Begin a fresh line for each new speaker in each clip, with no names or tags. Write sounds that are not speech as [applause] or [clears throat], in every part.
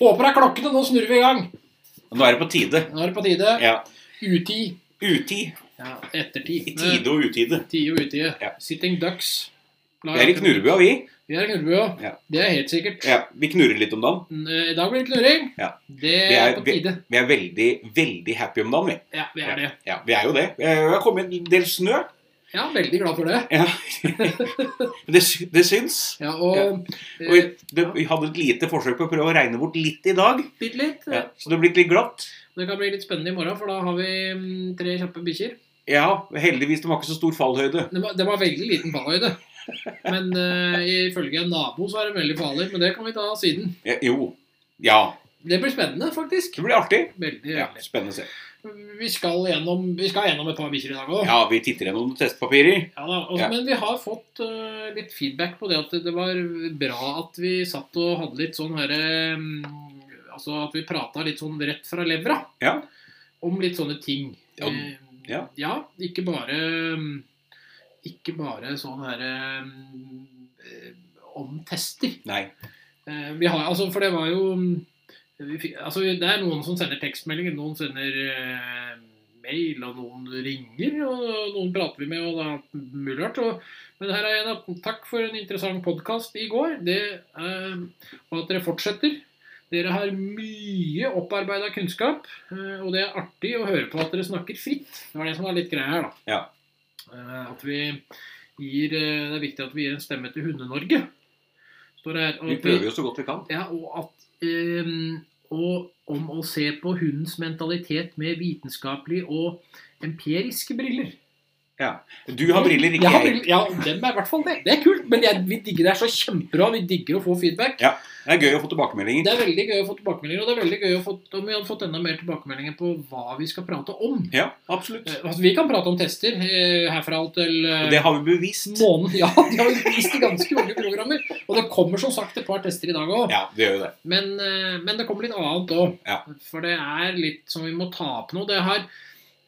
Få på deg klokkene, nå snurrer vi i gang.
Nå er det på tide.
Nå er det på tide.
Ja.
Utid.
Utid.
Ja,
I
ettertid.
tide og utide.
Tide og utide.
Ja.
Sitting ducks. La-
Vi er i knurrebua, vi.
Vi er i knurrebua.
Ja.
Det er helt sikkert.
Ja, vi knurrer litt om dagen.
N- eh, I dag blir det knurring.
Ja.
Det
Vi
er
er-
på tide.
Vi er veldig, veldig happy om dagen, vi.
Ja, vi er det.
Ja, vi er jo det. Vi har kommet en del snø.
Ja, veldig glad for det.
Ja. Det, sy- det syns.
Ja, og
Ja.
eh,
Og vi, det, vi hadde et lite forsøk på å prøve å regne bort litt i dag.
bitte litt. eh,
Ja. Så det er blitt litt glatt.
Det kan bli litt spennende i morgen, for da har vi mm, tre kjappe bikkjer.
Ja, heldigvis de har ikke så stor fallhøyde.
Det var, det var veldig liten fallhøyde. Men uh, ifølge en nabo så er det veldig farlig. Men det kan vi ta siden.
Ja, jo. Ja.
Det blir spennende, faktisk.
Det blir artig.
Veldig
Ja,
veldig.
spennende å se.
Vi skal gjennom, vi skal gjennom et par bikkjer i dag òg. Ja.
Ja, vi titter gjennom noen testpapirer.
da, og-
Ja.
Men vi har fått eh, litt feedback på det at det var bra at vi satt og hadde litt sånn herre mm, Altså at vi prata litt sånn rett fra levra
Ja.
om litt sånne ting.
Ja,
Eh,
ja.
ja, ikke bare mm, Ikke bare sånn herre eh, om tester.
Nei.
Eh, Vi har, altså, for det var jo mm, vi fikk- altså, Det er noen som sender tekstmeldinger, noen sender eh, mail, og noen ringer, og noen prater vi med, og da mulig og, Men her er en av Takk for en interessant podkast i går, det, eh, og at dere fortsetter. Dere har mye opparbeida kunnskap, eh, og det er artig å høre på at dere snakker fritt. Det var det som var litt greia her, da.
Ja.
Eh, At vi gir eh, Det er viktig at vi gir en stemme til Hunde-Norge. Står det her. og
Vi
at
prøver jo så godt vi kan.
ja, og at ehm, og om å se på hundens mentalitet med vitenskapelige og empiriske briller.
Du har briller,
Mm. Jeg
ikke
har
jeg.
briller. Ja, dem er i hvert fall det. Det er kult, men jeg, vi digger det her så kjempebra. Vi digger å få feedback.
Det er gøy å få tilbakemeldinger.
Det er veldig gøy å få tilbakemeldinger, og det er veldig gøy å få, om vi hadde fått enda mer tilbakemeldinger på hva vi skal prate om.
Ja, absolutt.
Eh, Altså, vi kan prate om tester eh, herfra og til eh,
Og det har vi bevist.
måneden. [laughs] Ja, de har jo vist i ganske mange programmer. Og det kommer som sagt et par tester i dag òg.
Ja, det gjør jo det.
Men, eh, men det kommer litt annet òg.
Ja.
For det er litt som vi må ta opp nå. Det har,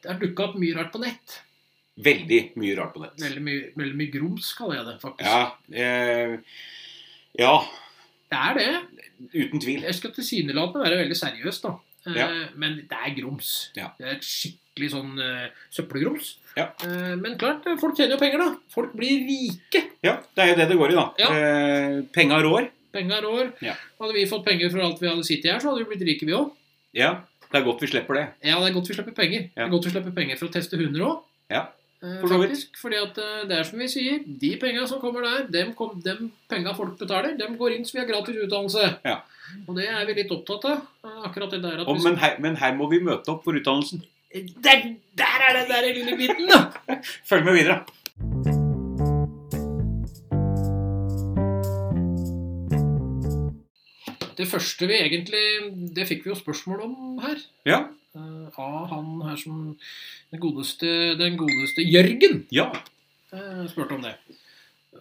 det har dukka opp mye rart på nett.
Veldig mye rart på nett.
Veldig mye, veldig mye grums, kaller jeg det faktisk.
Ja, eh, ja,
Det er det.
uten tvil.
Jeg skal tilsynelatende være veldig seriøs, da. Eh,
Ja.
Men det er grums.
Ja.
Det er et skikkelig sånn eh, søppelgrums.
Ja.
Eh, men klart, eh, folk tjener jo penger, da. Folk blir rike.
Ja, det er jo det det går i, da.
Ja.
Eh, penga rår.
Penga rår.
Ja.
Hadde vi fått penger for alt vi hadde sittet her, så hadde vi blitt rike, vi òg.
Ja, det er godt vi slipper det.
Ja, det er godt vi slipper penger. Det
Ja.
er godt vi slipper penger for å teste hunder òg.
Ja, for så vidt.
Fordi at eh, det er som vi sier, de penga som kommer der, dem, kom, dem penga folk betaler, dem går inn så vi har gratis utdannelse.
Ja.
Og det er vi litt opptatt av. eh, Akkurat det der at
Og, men, her, men her må vi møte opp for utdannelsen.
vi der, der er den der lille biten, da!
Følg med videre.
Det første vi egentlig Det fikk vi jo spørsmål om her.
Ja,
eh, Av han her som Den godeste, den godeste Jørgen.
ja.
eh, spurte om det.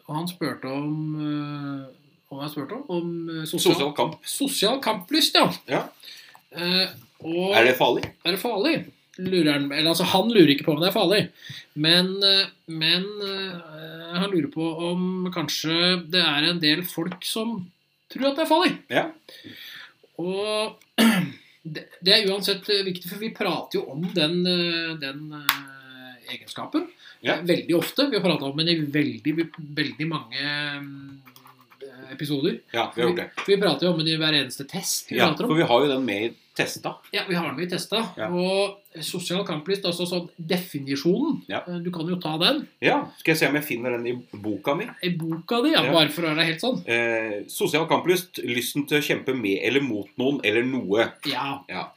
Og han spurte om eh, Om jeg spurte om? Om eh, sosial,
Sosial kamp.
sosial kamplyst, ja.
Ja.
Eh, og
Er det farlig?
er det farlig? Lurer han, eller altså Han lurer ikke på om det er farlig, men, eh, men eh, han lurer på om kanskje det er en del folk som tror at det er farlig.
Ja.
Og [clears throat] det, det er uansett eh, viktig, for vi prater jo om den, eh, den eh, egenskapen
Ja.
veldig ofte. Vi har prata om den i veldig, veldig mange eh, episoder.
Ja, vi har gjort det.
Vi prater jo om den i hver eneste test. Vi
Ja,
prater om.
for vi har jo den med i testa.
Ja, vi har den vi testa.
Ja.
Og sosial kamplyst, altså sånn definisjonen
Ja.
eh, Du kan jo ta den
Ja, skal jeg se om jeg finner den i boka mi.
i boka di, ja,
Ja.
bare for å være helt sånn.
Eh, sosial kamplyst. Lysten til å kjempe med eller mot noen eller noe.
Ja.
Ja.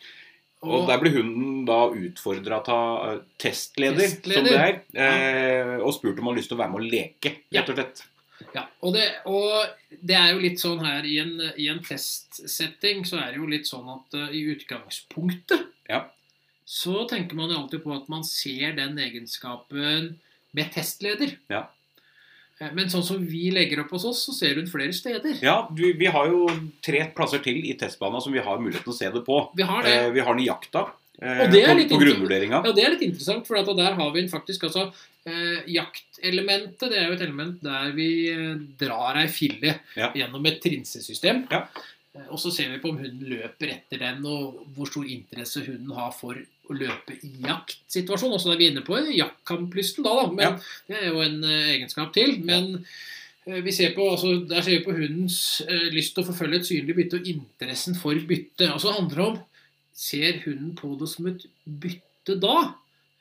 Og
Og,
der ble hunden da utfordra av eh, testleder, som
Testleder.
det er, eh, og spurt om han har lyst til å være med og leke,
Ja.
rett og slett.
ja, og, det, og det er jo litt sånn her I en, i en testsetting så er det jo litt sånn at eh, i utgangspunktet
Ja.
så tenker man jo alltid på at man ser den egenskapen med testleder.
Ja.
Eh, Men sånn som vi legger opp hos oss, så ser hun flere steder.
Ja, du, vi har jo tre plasser til i testbana som vi har muligheten til å se det på.
Vi har det.
Eh, vi har den i jakta. Eh,
Og det er
på,
litt
på
inter-
grunnvurderinga.
Ja, det er litt interessant, for at der har vi en faktisk altså eh, Jaktelementet det er jo et element der vi eh, drar ei fille
Ja.
gjennom et trinsesystem.
Ja.
Eh, Og så ser vi på om hunden løper etter den, og hvor stor interesse hunden har for å løpe i jaktsituasjon. Også er vi inne på jaktkamplysten da, da. Men
Ja.
det er jo en eh, egenskap til. Men eh, vi ser på, altså, der ser vi på hundens eh, lyst til å forfølge et synlig bytte og interessen for bytte. Altså det handler om ser hunden på det som et bytte da?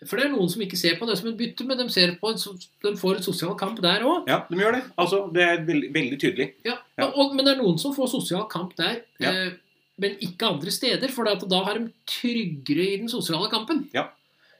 For det er noen som ikke ser på det som et bytte, men de, ser på en, so- de får en sosial kamp der òg.
Ja, de gjør det. Altså, det er veldig, veldig tydelig.
Ja,
Ja.
Og, men det er noen som får sosial kamp der,
Ja.
eh, men ikke andre steder. For at da har de tryggere i den sosiale kampen.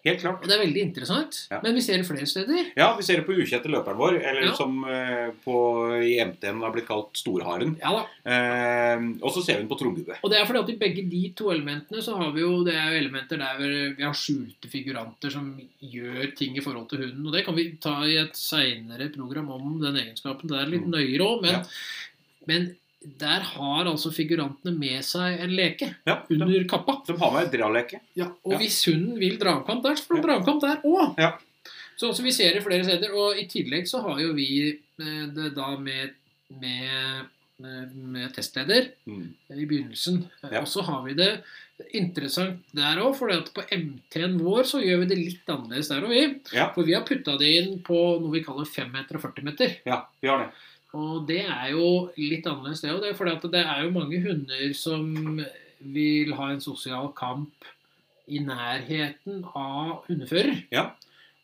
Helt klart.
Og det er veldig interessant.
Ja.
Men vi ser det flere steder.
Ja, vi ser det på ukjente løperen vår, eller
Ja.
som eh, på, i MTN har blitt kalt Storharen.
Ja da.
Eh, og så ser vi den på Tromgubbe.
Og det er fordi at i begge de to elementene så har vi jo det er jo elementer der vi, vi har skjulte figuranter som gjør ting i forhold til hunden. Og det kan vi ta i et seinere program om den egenskapen. Det er litt
Mm.
nøyere òg, men,
Ja.
men der har altså figurantene med seg en leke
Ja, de,
under kappa.
de har med et draleke.
Ja, og
Ja.
hvis hunden vil dragkamp der, så får den dragkamp der òg.
Ja.
Så altså, vi ser det flere steder. Og i tillegg så har jo vi eh, det da med, med, med, med testleder
Mm.
i begynnelsen. Eh,
Ja.
Og så har vi det interessant der òg, for på MT-en vår så gjør vi det litt annerledes der òg, vi.
Ja.
For vi har putta det inn på noe vi kaller 5 meter og 40 meter.
Ja, vi har det.
Og det er jo litt annerledes, det òg. Det, er fordi at det er jo mange hunder som vil ha en sosial kamp i nærheten av hundefører.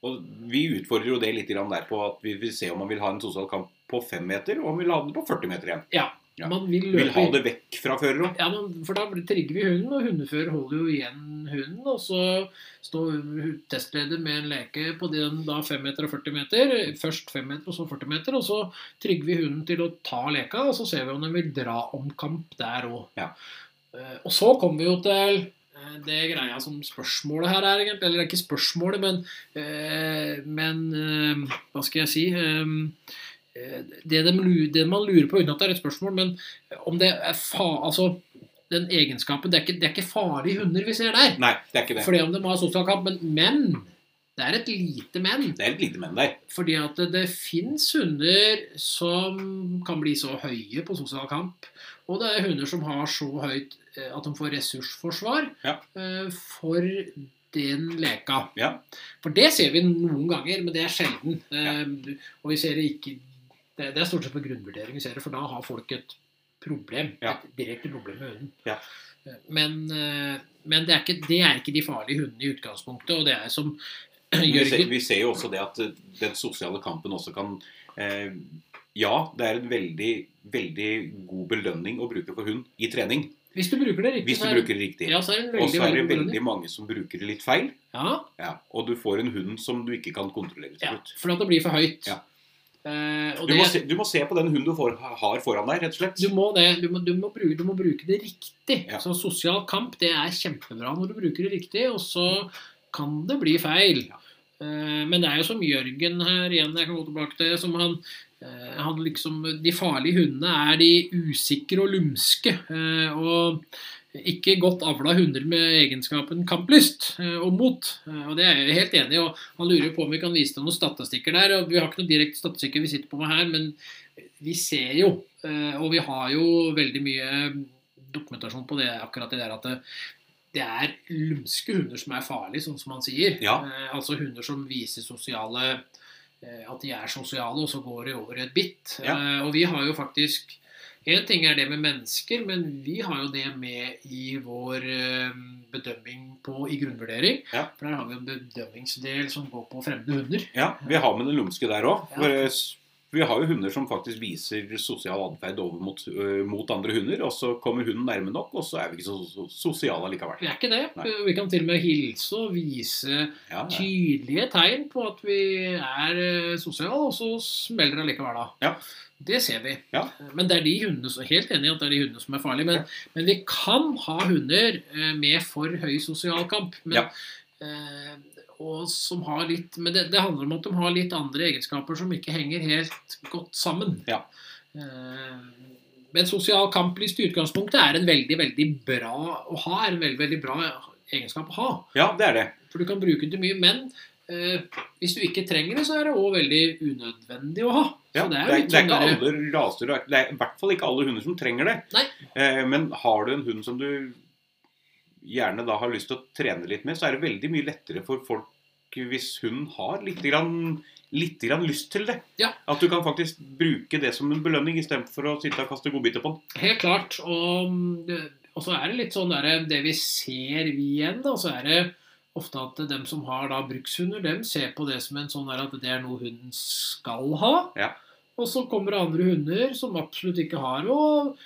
Og vi utfordrer jo det litt grann der på at vi vil se om man vil ha en sosial kamp på fem meter, og om man vil ha den på 40 meter igjen. Ja.
Man vil løpe
Vil ha det vekk fra fører òg.
Ja, men, for da trigger vi hunden, og hundefører holder jo igjen hunden. Og så står testleder med en leke på den da 5 meter og 40 meter. Først 5 meter, og så 40 meter. Og så trigger vi hunden til å ta leka, og så ser vi om den vil dra om kamp der òg.
Ja.
Og så kommer vi jo til eh, det greia som spørsmålet her er, egentlig. Eller det er ikke spørsmålet, men, eh, men eh, Hva skal jeg si? Eh, eh, Det, de, lu- det man lurer på, uten at det er et spørsmål, men om det er fa... Altså, den egenskapen Det er ikke, det er ikke farlige hunder vi ser der.
Nei, det er ikke det.
Fordi om de har sosial kamp. Men, men det er et lite men.
Det er et lite men der.
Fordi at det, det fins hunder som kan bli så høye på sosial kamp. Og det er hunder som har så høyt eh, at de får ressursforsvar
Ja.
eh, for den leka.
Ja.
For det ser vi noen ganger, men det er sjelden. Eh, og vi ser det ikke Det, det er stort sett på grunnvurdering vi ser det, for da har folk et problem.
Ja.
Et direkte problem med hunden.
Ja.
Eh, Men, eh, men det, er ikke, det er ikke de farlige hundene i utgangspunktet, og det er som [clears throat]
Vi ser,
Jørgen
vi ser jo også det at eh, den sosiale kampen også kan eh, Ja, det er en veldig, veldig god belønning å bruke for hund i trening.
Hvis du bruker det riktig,
Hvis du
så er det-
bruker det riktig.
Ja, så er det en
Og
veldig,
så er det
veldig, god
veldig mange som bruker det litt feil.
belønning. Ja,
Ja, og du får en hund som du ikke kan kontrollere
ja,
til slutt.
for at det blir for høyt.
Ja.
Eh, og
Du
det,
må, se, du må se på den hunden du får, har foran deg, rett og slett.
du må det. Du må, du må, bruke, du må bruke det riktig.
Ja.
Så sosial kamp, det er kjempebra når du bruker det riktig, og så kan det bli feil.
Ja.
Eh, men det er jo som Jørgen her igjen, jeg kan gå tilbake til, som han eh, han liksom, De farlige hundene er de usikre og lumske. eh, og ikke godt avla hunder med egenskapen kamplyst eh, og mot. Eh, og Det er jeg helt enig i. og Han lurer jo på om vi kan vise deg noen statistikker der. og Vi har ikke noen direkte statistikker vi sitter på med her, men vi ser jo, eh, og vi har jo veldig mye dokumentasjon på det akkurat det der at det, det er lumske hunder som er farlige, sånn som han sier.
Ja.
Eh, altså hunder som viser sosiale eh, At de er sosiale, og så går de over i et bitt.
Ja.
Eh, og vi har jo faktisk Én ting er det med mennesker, men vi har jo det med i vår eh, bedømming på, i grunnvurdering.
Ja.
For der har vi en bedømmingsdel som liksom går på fremmede hunder.
Ja, vi har med den lumske der òg.
Ja.
Vi har jo hunder som faktisk viser sosial atferd over mot, øh, mot andre hunder, og så kommer hunden nærme nok, og så er vi ikke så, så sosiale likevel.
Vi er ikke det.
Nei.
Vi kan til og med hilse og vise
Ja, ja.
tydelige tegn på at vi er eh, sosiale, og så smeller det likevel av.
Ja.
Det ser vi.
Ja.
Men det er de hundene som, helt enig i at det er de hundene som er farlige. Men, men vi kan ha hunder eh, med for høy sosial kamp. Men,
Ja.
eh, og som har litt, men det, det handler om at de har litt andre egenskaper som ikke henger helt godt sammen.
Ja.
Eh, men sosial kamplyst i utgangspunktet er en veldig, veldig bra å ha. er en veldig, veldig bra egenskap å ha.
ja, det er det.
For du kan bruke den til mye, men eh, hvis du ikke trenger det, så er det òg veldig unødvendig å ha.
Ja,
så
det, er, det er ikke
derre-
alle raser og Det er i hvert fall ikke alle hunder som trenger det.
Nei.
Eh, men har du en hund som du gjerne da har lyst til å trene litt med, så er det veldig mye lettere for folk hvis hun har litt, grann, litt grann lyst til det.
Ja.
At du kan faktisk bruke det som en belønning istedenfor å sitte og kaste godbiter på den.
Helt klart. Og, eh, og så er det litt sånn der, det vi ser vi igjen, da, så er det ofte at dem som har da brukshunder, dem ser på det som en sånn der at det er noe hunden skal ha.
Ja.
Og så kommer det andre hunder som absolutt ikke har det, og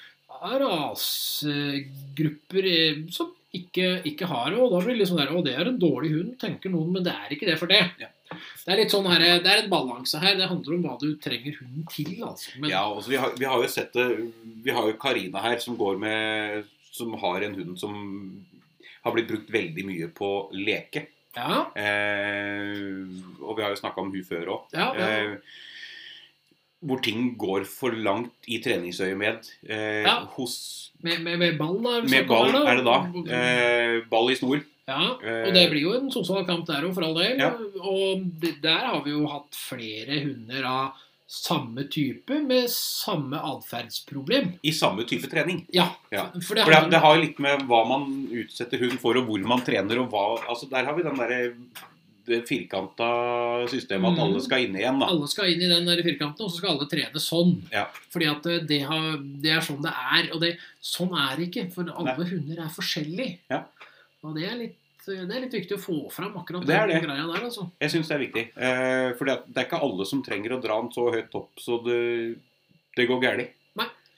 er rasegrupper eh, som ikke, ikke har det. Og da blir det liksom der, å det er en dårlig hund, tenker noen, men det er ikke det for det.
Ja.
Det er litt sånn her, det er en balanse her. Det handler om hva du trenger hunden til, altså. Men,
Ja, altså, vi, har, vi har jo sett det Vi har jo Karina her som går med Som har en hund som har blitt brukt veldig mye på leke.
ja,
Eh, og vi har jo snakka om hun før òg.
ja, ja.
Eh, hvor ting går for langt i treningsøyemed. Eh,
Ja.
hos,
Med, med, med ball, da? er det
med
snakk om
ball
her,
er det da. Eh, ball i snor. eh,
ja, og det blir jo en sosial kamp der òg, for all del.
Ja.
Og det, der har vi jo hatt flere hunder av samme type med samme atferdsproblem.
I samme type trening.
Ja,
Ja.
For, for det
For det,
handler-
det har jo litt med hva man utsetter hund for, og hvor man trener, og hva Altså, der har vi den derre det firkanta systemet at
Mm.
alle skal inn igjen, da.
alle skal inn i den der firkanten, og så skal alle trene sånn.
Ja.
Fordi at eh, det, har, det er sånn det er. Og det, sånn er det ikke, for alle hunder er forskjellige.
Ja.
Og det er, litt, eh, det er litt viktig å få fram akkurat
Det er
den
det.
greia der, altså.
Jeg syns det er viktig. Eh, for det er ikke alle som trenger å dra den så høyt opp så det, det går galt.
Nei.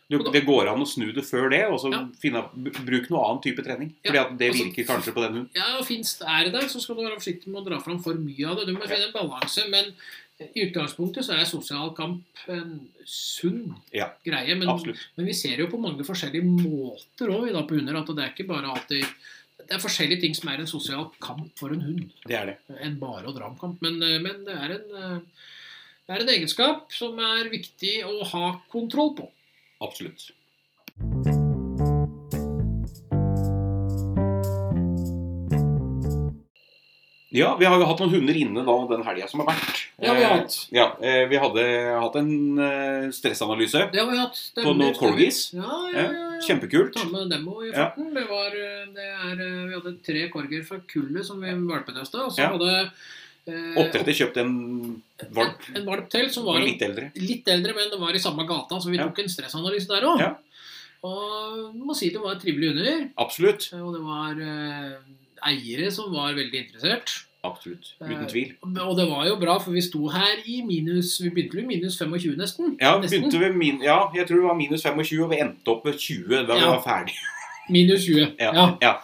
Du,
Og da-
det går an å snu det før det, og så
Ja.
finne, b- bruk noe annen type trening.
Ja,
Fordi at det
altså-
virker kanskje på den hunden.
Ja, finnes, er det der, så skal du være forsiktig med å dra fram for mye av det. Du må
Ja.
finne en balanse. Men i utgangspunktet så er sosial kamp en sunn
Ja.
greie. Men,
Absolutt.
men vi ser jo på mange forskjellige måter òg på hunder at det er ikke bare alltid det er forskjellige ting som er en sosial kamp for en hund
Det er det.
enn bare å dra om kamp. Men, eh, men det, er en, eh, det er en egenskap som er viktig å ha kontroll på.
Absolutt. Ja, vi har jo hatt noen hunder inne da den helga som har vært.
Det har vi
Eh,
hatt.
Ja, eh, vi hadde hatt en eh, stressanalyse.
Det har vi hatt.
På
Stemmer, stemmer.
noen corgis?
Ja, ja, ja, ja.
Kjempekult.
Ta med dem også i
Ja.
farten. Det var, eh, det er, eh, vi hadde tre korger fra kullet som vi valpenesta. Og så
Ja.
hadde eh,
Oppdretter kjøpte en valp.
en- en valp til som var
Var
litt,
litt eldre.
eldre, men det var i samme gata, så vi
Ja.
tok en stressanalyse der òg.
Ja.
Og må si det var trivelige hunder.
Absolutt.
Og det var eh, eiere som var veldig interessert.
Absolutt.
Eh,
Uten tvil.
Og det var jo bra, for vi sto her i minus Vi begynte vel i minus 25, nesten.
Ja,
nesten.
begynte ved min, ja, jeg tror det var minus 25, og vi endte opp ved 20 da vi
Ja.
var ferdige.
Minus 20.
Ja,
ja.
ja.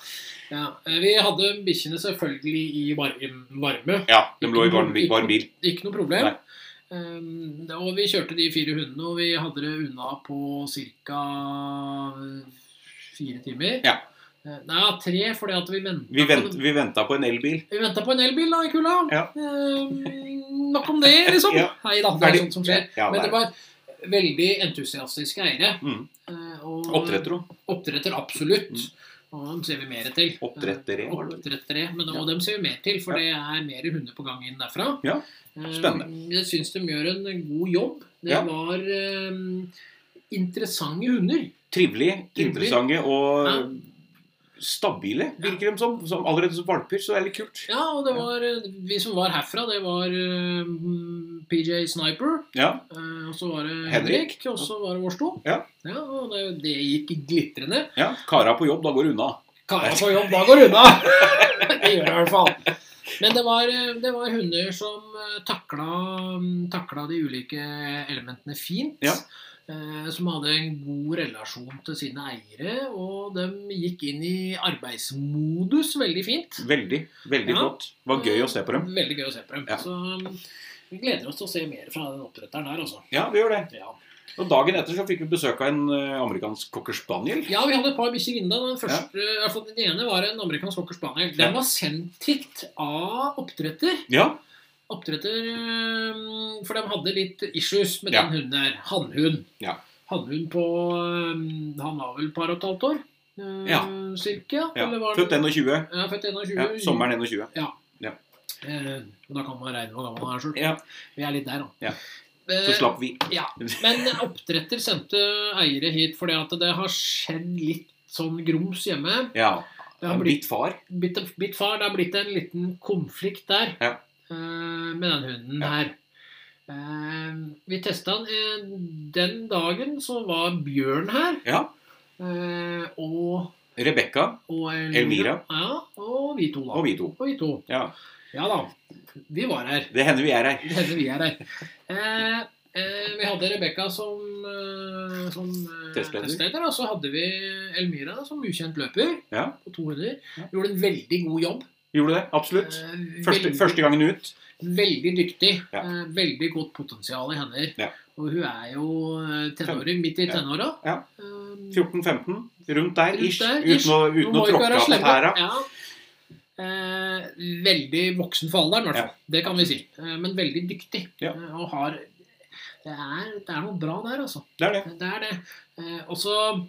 Ja, eh, Vi hadde bikkjene selvfølgelig i varm- varme.
ja de lå i varm, varm bil.
Ikke noe problem.
Nei.
Ehm, da- og vi kjørte de fire hundene, og vi hadde det unna på ca. fire timer.
Ja.
Eh, Nei, tre, fordi at vi venta
Vi, vent, vi venta på en elbil.
vi ventet på en elbil da, i kulda.
Ja.
Ehm, nok om det, liksom.
[laughs] Ja.
Nei da, det er
Ferdig.
sånt som skjer.
Ja,
Men det
det er det.
var veldig entusiastiske eiere.
Mm.
eh, og-
Oppdretter òg.
Oppdretter, absolutt.
Mm.
Og dem ser vi mer til.
Oppdrettere,
Eh,
var det
Oppdrettere, men
Ja.
og dem ser vi mer til, for det er mer hunder på gang inn derfra.
Ja, spennende.
Eh, Jeg syns de gjør en god jobb. Det
Ja.
var eh, interessante hunder.
Trivelige, interessante og
Ja.
stabile, virker de som. som allerede som valper, så det er litt kult.
Ja, og det var eh, vi som var herfra, det var eh, PJ Sniper,
Ja,
eh, og så var det
Henrik.
Henrik, og så var det vårs to.
Ja.
og det, det gikk glitrende.
ja. Kara på jobb, da går det unna.
Kara på jobb, da går det
[laughs]
unna! det gjør det i hvert fall. Men det var, eh, det var hunder som eh, takla, takla de ulike elementene fint.
Ja.
eh, Som hadde en god relasjon til sine eiere. Og de gikk inn i arbeidsmodus veldig fint.
Veldig, veldig
Ja.
flott. Det var gøy å se på dem.
Veldig gøy å se på dem.
Ja.
Så um, vi gleder oss til å se mer fra den oppdretteren der, altså.
Ja, det gjør det.
Ja.
Og dagen etter så fikk vi besøk av en eh, amerikansk cocker spaniel.
Ja, vi hadde et par bikkjer inne. Den, første, i hvert fall den ene var en amerikansk cocker spaniel. Den
Ja.
var sendt hit av oppdretter.
Ja,
Oppdretter øhm, For de hadde litt issues med
Ja.
den hunden her. Hannhund.
Ja.
Hannhund på øhm, Han var vel et par og et halvt år? øh,
Ja.
Cirka?
ja.
eller var
Født 21.
Ja, født 21.
Ja, sommeren 21.
Eh, og da kan man regne med hvor gammel han er sjøl.
Ja,
Vi er litt der, da.
Ja.
Eh,
så slapp vi.
Ja, Men oppdretter sendte eiere hit fordi at det har skjedd litt sånn grums hjemme.
Ja.
Det har blitt,
Ditt far.
blitt, blitt far, det har blitt en liten konflikt der
Ja.
eh, med den hunden
Ja.
her. Eh, vi testa den. eh, Den dagen så var Bjørn her.
Ja.
eh, og,
Rebekka
og
Elmira.
Ja, og vi to, da.
og vi to.
Og vi to.
Ja.
Ja da. Vi var her.
Det hender vi er her.
Det hender vi er her. Eh, eh, vi hadde Rebekka som, eh, som eh,
Testleder.
testleder, og så hadde vi Elmira som ukjent løper
Ja.
på 200.
Ja.
Gjorde en veldig god jobb.
Gjorde det. Absolutt.
Eh,
Første,
veldig,
første gangen ut.
veldig dyktig.
Ja.
Eh, veldig godt potensial i hender.
Ja.
Og hun er jo eh, tenåring, midt i
Ja.
tenåra.
Ja.
Eh,
14-15. Rundt der,
Rundt
ish.
der, ish.
Uten å,
Nå
uten
må
å
vi ikke
tråkke
være
av på
slemme.
tæra.
Ja. Eh, veldig voksen for alderen, i hvert fall. det kan vi si. Eh, men veldig dyktig.
Ja.
Eh, og har det er, det er noe bra der, altså.
Det er det.
Det er det. Eh, og så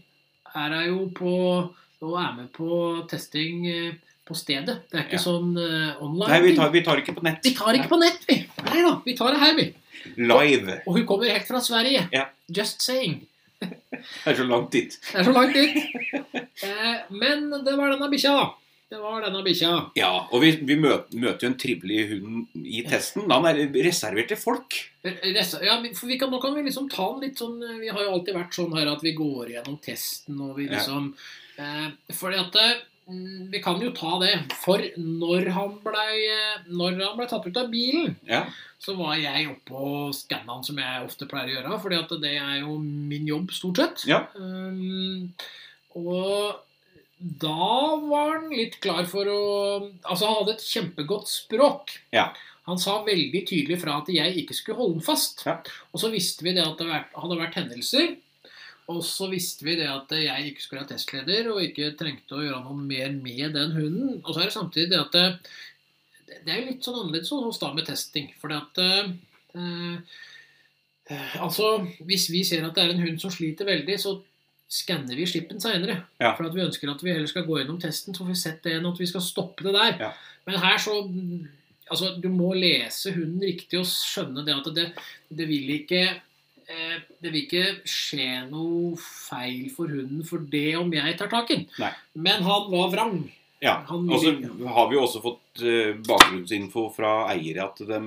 er jeg jo på og er med på testing eh, på stedet. Det er ikke
Ja.
sånn eh, online.
Nei, vi tar, vi tar ikke på nett.
Vi tar ikke på nett, vi. Nei da, vi tar det her, vi.
Live.
Og hun kommer helt fra Sverige.
Ja.
Just saying.
Det er så langt dit.
Det er så langt dit. Eh, men det var denne bikkja, da. Det var denne bikkja.
Ja, og vi, vi møter, møter jo en trivelig hund i testen. Han er reservert til folk.
Eh, Rest- Ja, vi- for vi kan, nå kan vi liksom ta den litt sånn eh, Vi har jo alltid vært sånn her at vi går gjennom testen og vi
Ja.
liksom eh, Fordi at eh, mm, Vi kan jo ta det. For når han blei eh, Når han blei tatt ut av bilen,
Ja.
så var jeg oppe og skanna han, som jeg ofte pleier å gjøre. Fordi at det er jo min jobb, stort sett.
Ja.
Um, og da var han litt klar for å Altså, han hadde et kjempegodt språk.
Ja.
Han sa veldig tydelig fra at jeg ikke skulle holde den fast.
Ja.
Og så visste vi det at det vært- hadde vært hendelser. Og så visste vi det at jeg ikke skulle være testleder og ikke trengte å gjøre noe mer med den hunden. Og så er det samtidig det at det, det er jo litt sånn annerledes sånn hos da med testing. For det at eh, eh, Altså, hvis vi ser at det er en hund som sliter veldig, så skanner vi slippen seinere.
Ja.
For at vi ønsker at vi heller skal gå gjennom testen, så får vi sett det enn at vi skal stoppe det der.
Ja.
Men her så mm, Altså, du må lese hunden riktig og skjønne det at det, det vil ikke eh, det vil ikke skje noe feil for hunden for det om jeg tar tak i den.
Nei.
Men han var vrang.
Ja.
Han
Og så
ville-
har vi jo også fått eh, bakgrunnsinfo fra eiere at dem,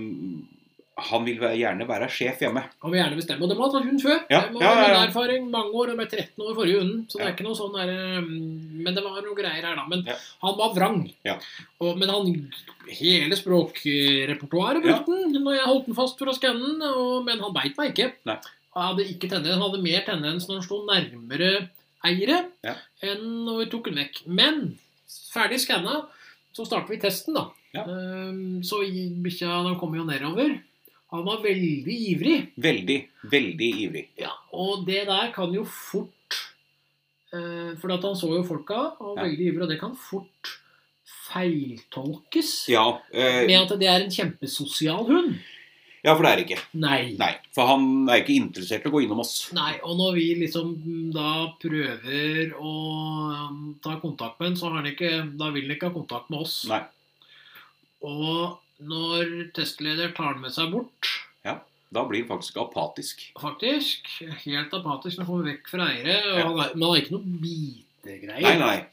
han vil være- gjerne være sjef hjemme.
Han vil gjerne bestemme. Og det må ha tatt hund før.
Ja,
Det må ha
ja, ja, ja.
min erfaring mange år, og med 13 år forrige hunden. Så det
Ja.
er ikke noe sånn der, um, Men det var noe greier her, da. Men
Ja.
han var vrang.
Ja.
Og, men han Hele språkrepertoaret brukte han når jeg holdt den fast for å skanne den, og- men han beit meg ikke.
Nei.
Han hadde ikke tendens, han hadde mer tendens når han sto nærmere eiere
Ja.
enn når vi tok den vekk. Men ferdig skanna, så starter vi testen, da.
Ja.
Um, så i- bikkja den kom jo nedover. Han var veldig ivrig.
Veldig, veldig ivrig.
Ja, og det der kan jo fort eh, For at han så jo folka, og var
Ja.
veldig ivrig, og det kan fort feiltolkes
Ja, eh,
med at det er en kjempesosial hund.
ja, for det er det ikke.
Nei.
Nei, for han er ikke interessert i å gå innom oss.
Nei, og når vi liksom da prøver å um, ta kontakt med den, så har han ikke, da vil han ikke ha kontakt med oss.
Nei.
Og når testleder tar den med seg bort,
Da blir han faktisk apatisk.
faktisk, helt apatisk, når han kommer vekk fra eiere, og
Ja.
han er, men han har ikke noe bitegreier.
Nei, nei.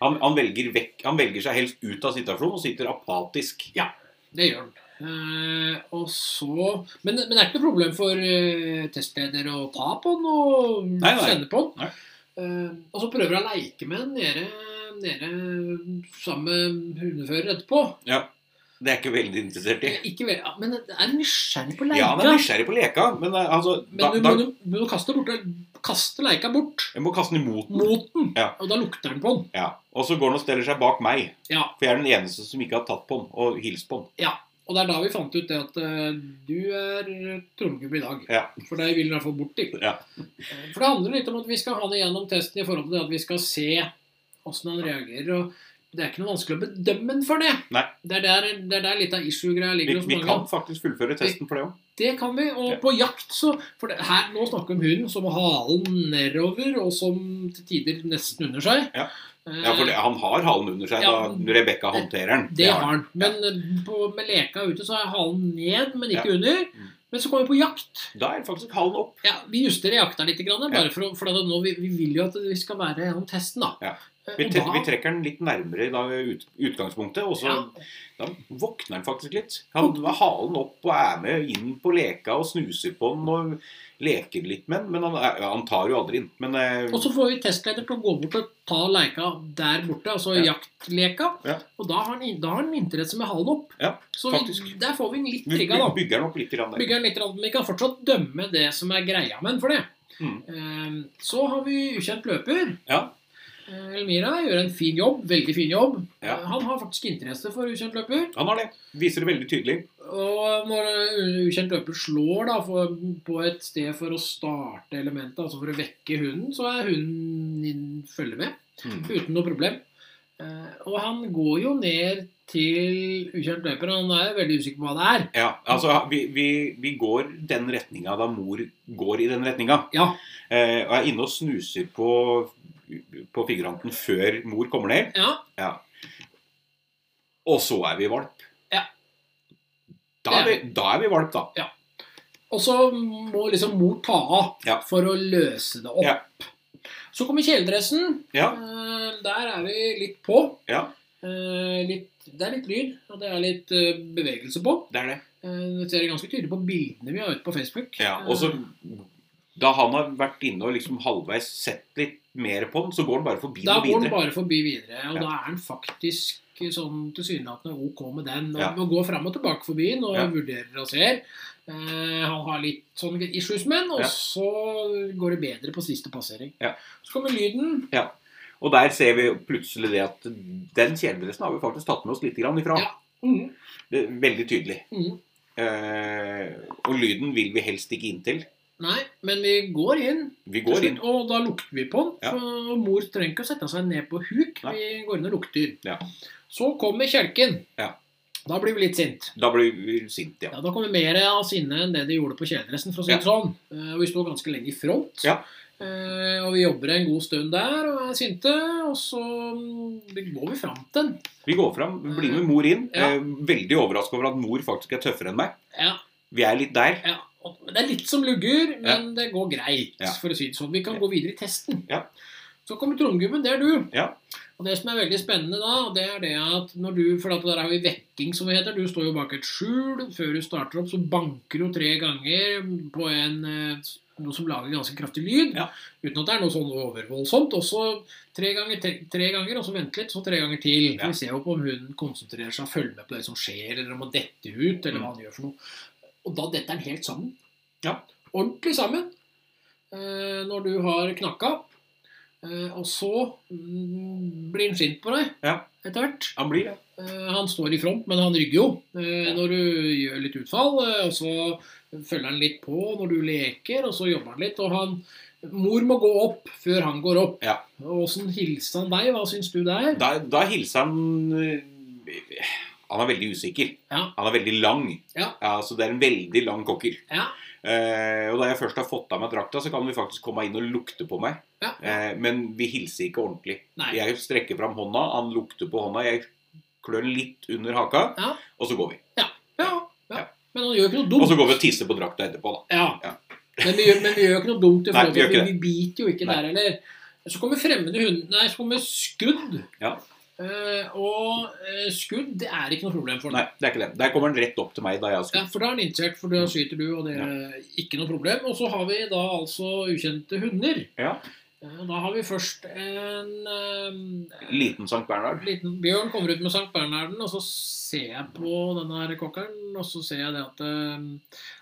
Han, han, velger vekk, han velger seg helst ut av situasjonen og sitter apatisk.
Det gjør den. Eh, og så men, men det er ikke noe problem for eh, testleder å ta på den og
Nei, nei.
kjenne på den.
Nei.
Eh, og så prøver han å leike med den nede, nede sammen med hundefører etterpå.
Det er ikke veldig interessert i.
Ikke vel, ja, men det er nysgjerrig på leika.
Ja, han er nysgjerrig på leka, men eh, altså
men
da,
du
da,
må, du må kaste, bort, kaste leika bort
Jeg må kaste den imot den.
mot den,
Ja.
og da lukter den på den.
Ja. Og så går han og steller seg bak meg.
Ja,
For jeg er den eneste som ikke har tatt på den og hilst på den.
Og det er da vi fant ut det at eh, du er trommegubbe i dag.
Ja.
For deg vil du i hvert fall bort til.
Ja.
Eh, For det handler litt om at vi skal ha det gjennom testen i forhold til det at vi skal se åssen han reagerer. Og Det er ikke noe vanskelig å bedømme den for det.
Nei.
Det er der, det er der litt av issue-greia
Vi,
ligger hos
vi
mange.
kan faktisk fullføre testen for det òg.
Det kan vi. Og
Ja.
på jakt, så For det, her, nå snakker vi om hunden som har halen nedover, og som til tider nesten under seg.
Ja.
Eh,
Ja, for det, han har halen under seg
Ja,
da Rebekka håndterer den.
det har han. Men eh, på, med leka ute så er halen ned, men ikke under.
Mm.
Men så kommer vi på jakt.
Da er faktisk halen opp.
Ja, Vi justerer jakta litt, grann, bare for, å- for at nå, vi, vi vil jo at vi skal være gjennom testen. da.
Ja.
Eh,
Vi,
og
tre,
da-
vi trekker den litt nærmere da, ut, utgangspunktet, og så
Ja.
da våkner han faktisk litt. Han har halen opp og er med inn på leka og snuser på den og leker litt med den. Men han, er- ja, han tar jo aldri inn. Men eh,
Og så får vi testleder til å gå bort og ta leika der borte, altså
Ja.
jaktleka.
Ja.
Og da har, han, da har han interesse med halen opp.
Ja,
så vi,
faktisk.
der får vi den litt
vi
trigga,
by-
da.
bygger den opp litt grann der.
Bygger den litt, rann, men vi kan fortsatt dømme det som er greia med den for det.
Mm.
Eh, Så har vi ukjent løper.
Ja.
Eh, Elmira gjør en fin jobb. Veldig fin jobb.
Ja.
Eh, Han har faktisk interesse for ukjent løper.
Han har det. Viser det veldig tydelig.
Og når eh, ukjent løper slår da, for, på et sted for å starte elementet, altså for å vekke hunden, så er hunden inn- følger med. Uten noe problem. Eh, og han går jo ned til ukjent løper, og han er veldig usikker på hva det er.
Ja, altså vi, vi, vi går den retninga da mor går i den retninga.
Ja,
Eh, og er inne og snuser på, på figuranten før mor kommer ned.
ja,
Og så er vi valp.
Ja.
Da er vi, da er vi valp, da.
Og så må liksom mor ta av
Ja.
for å løse det opp.
Ja.
Så kommer kjeledressen.
Ja.
Eh, Der er vi litt på.
Ja.
Eh, Litt, det er litt lyd, og det er litt eh, bevegelse på.
Det er det.
Eh, Det ser jeg ganske tydelig på bildene vi har ute på Facebook. Eh,
Ja, og så Da han har vært inne og liksom halvveis sett litt mer på den, så går han bare forbi
Da
den
går den
videre.
bare forbi videre, og
Ja.
da er den faktisk sånn tilsynelatende ok med den. Og
Ja.
og går fram og tilbake forbi den og
Ja.
vurderer og ser. Eh, han har litt sånn issues med den, og
Ja.
så går det bedre på siste passering.
Ja.
Så kommer lyden.
Og der ser vi plutselig det at den kjeledressen har vi faktisk tatt med oss litt grann ifra.
Ja. Mm.
Det er veldig tydelig.
Mm.
Eh, og lyden vil vi helst ikke inn til.
Nei, men vi går inn,
Vi
til
går inn.
slutt, og da lukter vi på den.
Ja.
så- Og mor trenger ikke å sette seg ned på huk.
Nei.
Vi går inn og lukter.
Ja.
Så kommer kjelken.
Ja.
Da blir vi litt sint.
Da blir vi sinte, ja.
Ja, Da kom det mer av sinne enn det de gjorde på kjeledressen. for å si det sånn. Eh, Og Vi sto ganske lenge i front.
Ja.
Eh, Og vi jobber en god stund der og er sinte. Og så mm, går vi fram til den.
Vi går fram, vi blir med mor inn.
Ja.
Eh, veldig overraska over at mor faktisk er tøffere enn meg.
Ja,
Vi er litt der.
ja. Og Det er litt som lugger, men det går greit.
Ja.
for å si det sånn. Vi kan
Ja.
gå videre i testen.
Ja.
Så kommer tromgubben. Det er du.
Ja.
Og det som er veldig spennende da, det er det at når du For at der har vi vekking, som det heter. Du står jo bak et skjul. Før du starter opp, så banker du tre ganger på en eh, noe som lager ganske kraftig lyd,
Ja.
uten at det er noe sånn overvoldsomt. Og så tre ganger, tre, tre ganger, og så vente litt, så tre ganger til.
Ja.
Vi ser jo på om hun konsentrerer seg og følger med på det som skjer, eller om han detter ut,
Mm.
eller hva han gjør for noe. Og da detter han helt sammen.
Ja.
Ordentlig sammen. Eh, når du har knakka. Eh, og så mm, blir han sint på deg
Ja.
etter hvert.
Han blir det.
Eh, Han står i front, men han rygger jo eh,
Ja.
når du gjør litt utfall. eh, Og så følger han litt på når du leker, og så jobber han litt. Og han, mor må gå opp før han går opp.
Ja.
Og Åssen hilste han deg? Hva syns du der?
Da, da hilser han eh, Han er veldig usikker.
Ja.
Han er veldig lang.
Ja.
så det er en veldig lang kokker.
Ja.
Eh, og da jeg først har fått av meg drakta, så kan vi faktisk komme inn og lukte på meg.
Ja.
Eh, men vi hilser ikke ordentlig.
Nei.
Jeg strekker fram hånda, han lukter på hånda, jeg klør litt under haka,
Ja.
og så går vi.
Ja, ja.
Ja.
Men han gjør ikke noe
Og
dumt.
så går vi og tisser på drakta etterpå, da.
Ja.
Ja.
Men, vi gjør, men vi gjør ikke noe dumt. i
Nei,
forhold til
vi gjør
at vi,
ikke
vi biter jo ikke
Nei.
der heller. Så kommer fremmede hunder Nei, så kommer skudd.
Ja.
Eh, og eh, skudd det er ikke noe problem for dem.
Nei, det er ikke det. Der kommer han rett opp til meg da jeg har skutt.
Ja, for da er han innsett, for
Mm.
da skyter du, og det er ikke noe problem. Og så har vi da altså ukjente hunder.
Ja.
Eh, Da har vi først en eh,
Liten Sankt Bernhard.
liten bjørn kommer ut med Sankt Bernharden, og så ser jeg på denne her kokkeren, og så ser jeg det at eh,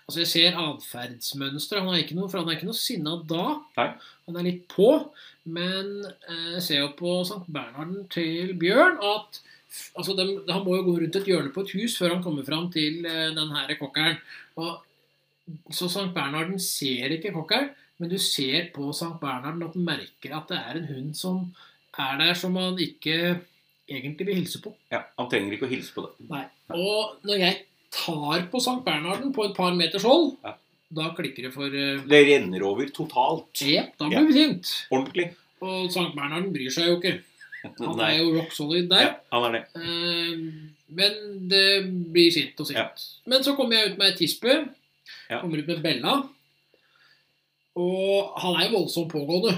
Altså, jeg ser atferdsmønsteret. Han er ikke noe, for han er ikke noe sinna da.
Nei.
Han er litt på. Men eh, jeg ser jo på Sankt Bernharden til Bjørn at f- altså, dem, Han må jo gå rundt et hjørne på et hus før han kommer fram til eh, den her kokkeren. Og, så Sankt Bernharden ser ikke kokkeren, men du ser på Sankt Bernharden at han merker at det er en hund som er der som han ikke egentlig vil hilse på.
Ja, Han trenger ikke å hilse på det.
Nei. Og når jeg tar på Sankt Bernharden på et par meters hold,
Ja.
da klikker det for eh,
Det renner over totalt.
Jepp, da
Ja.
blir vi sint.
Ordentlig.
Og Sankt Bernharden bryr seg jo ikke. Han
Nei.
er jo rock solid der.
Ja, han er det.
Eh, Men det blir sint og sint.
Ja.
Men så kommer jeg ut med Tispe.
Ja.
Kommer ut med Bella. Og han er jo voldsomt pågående.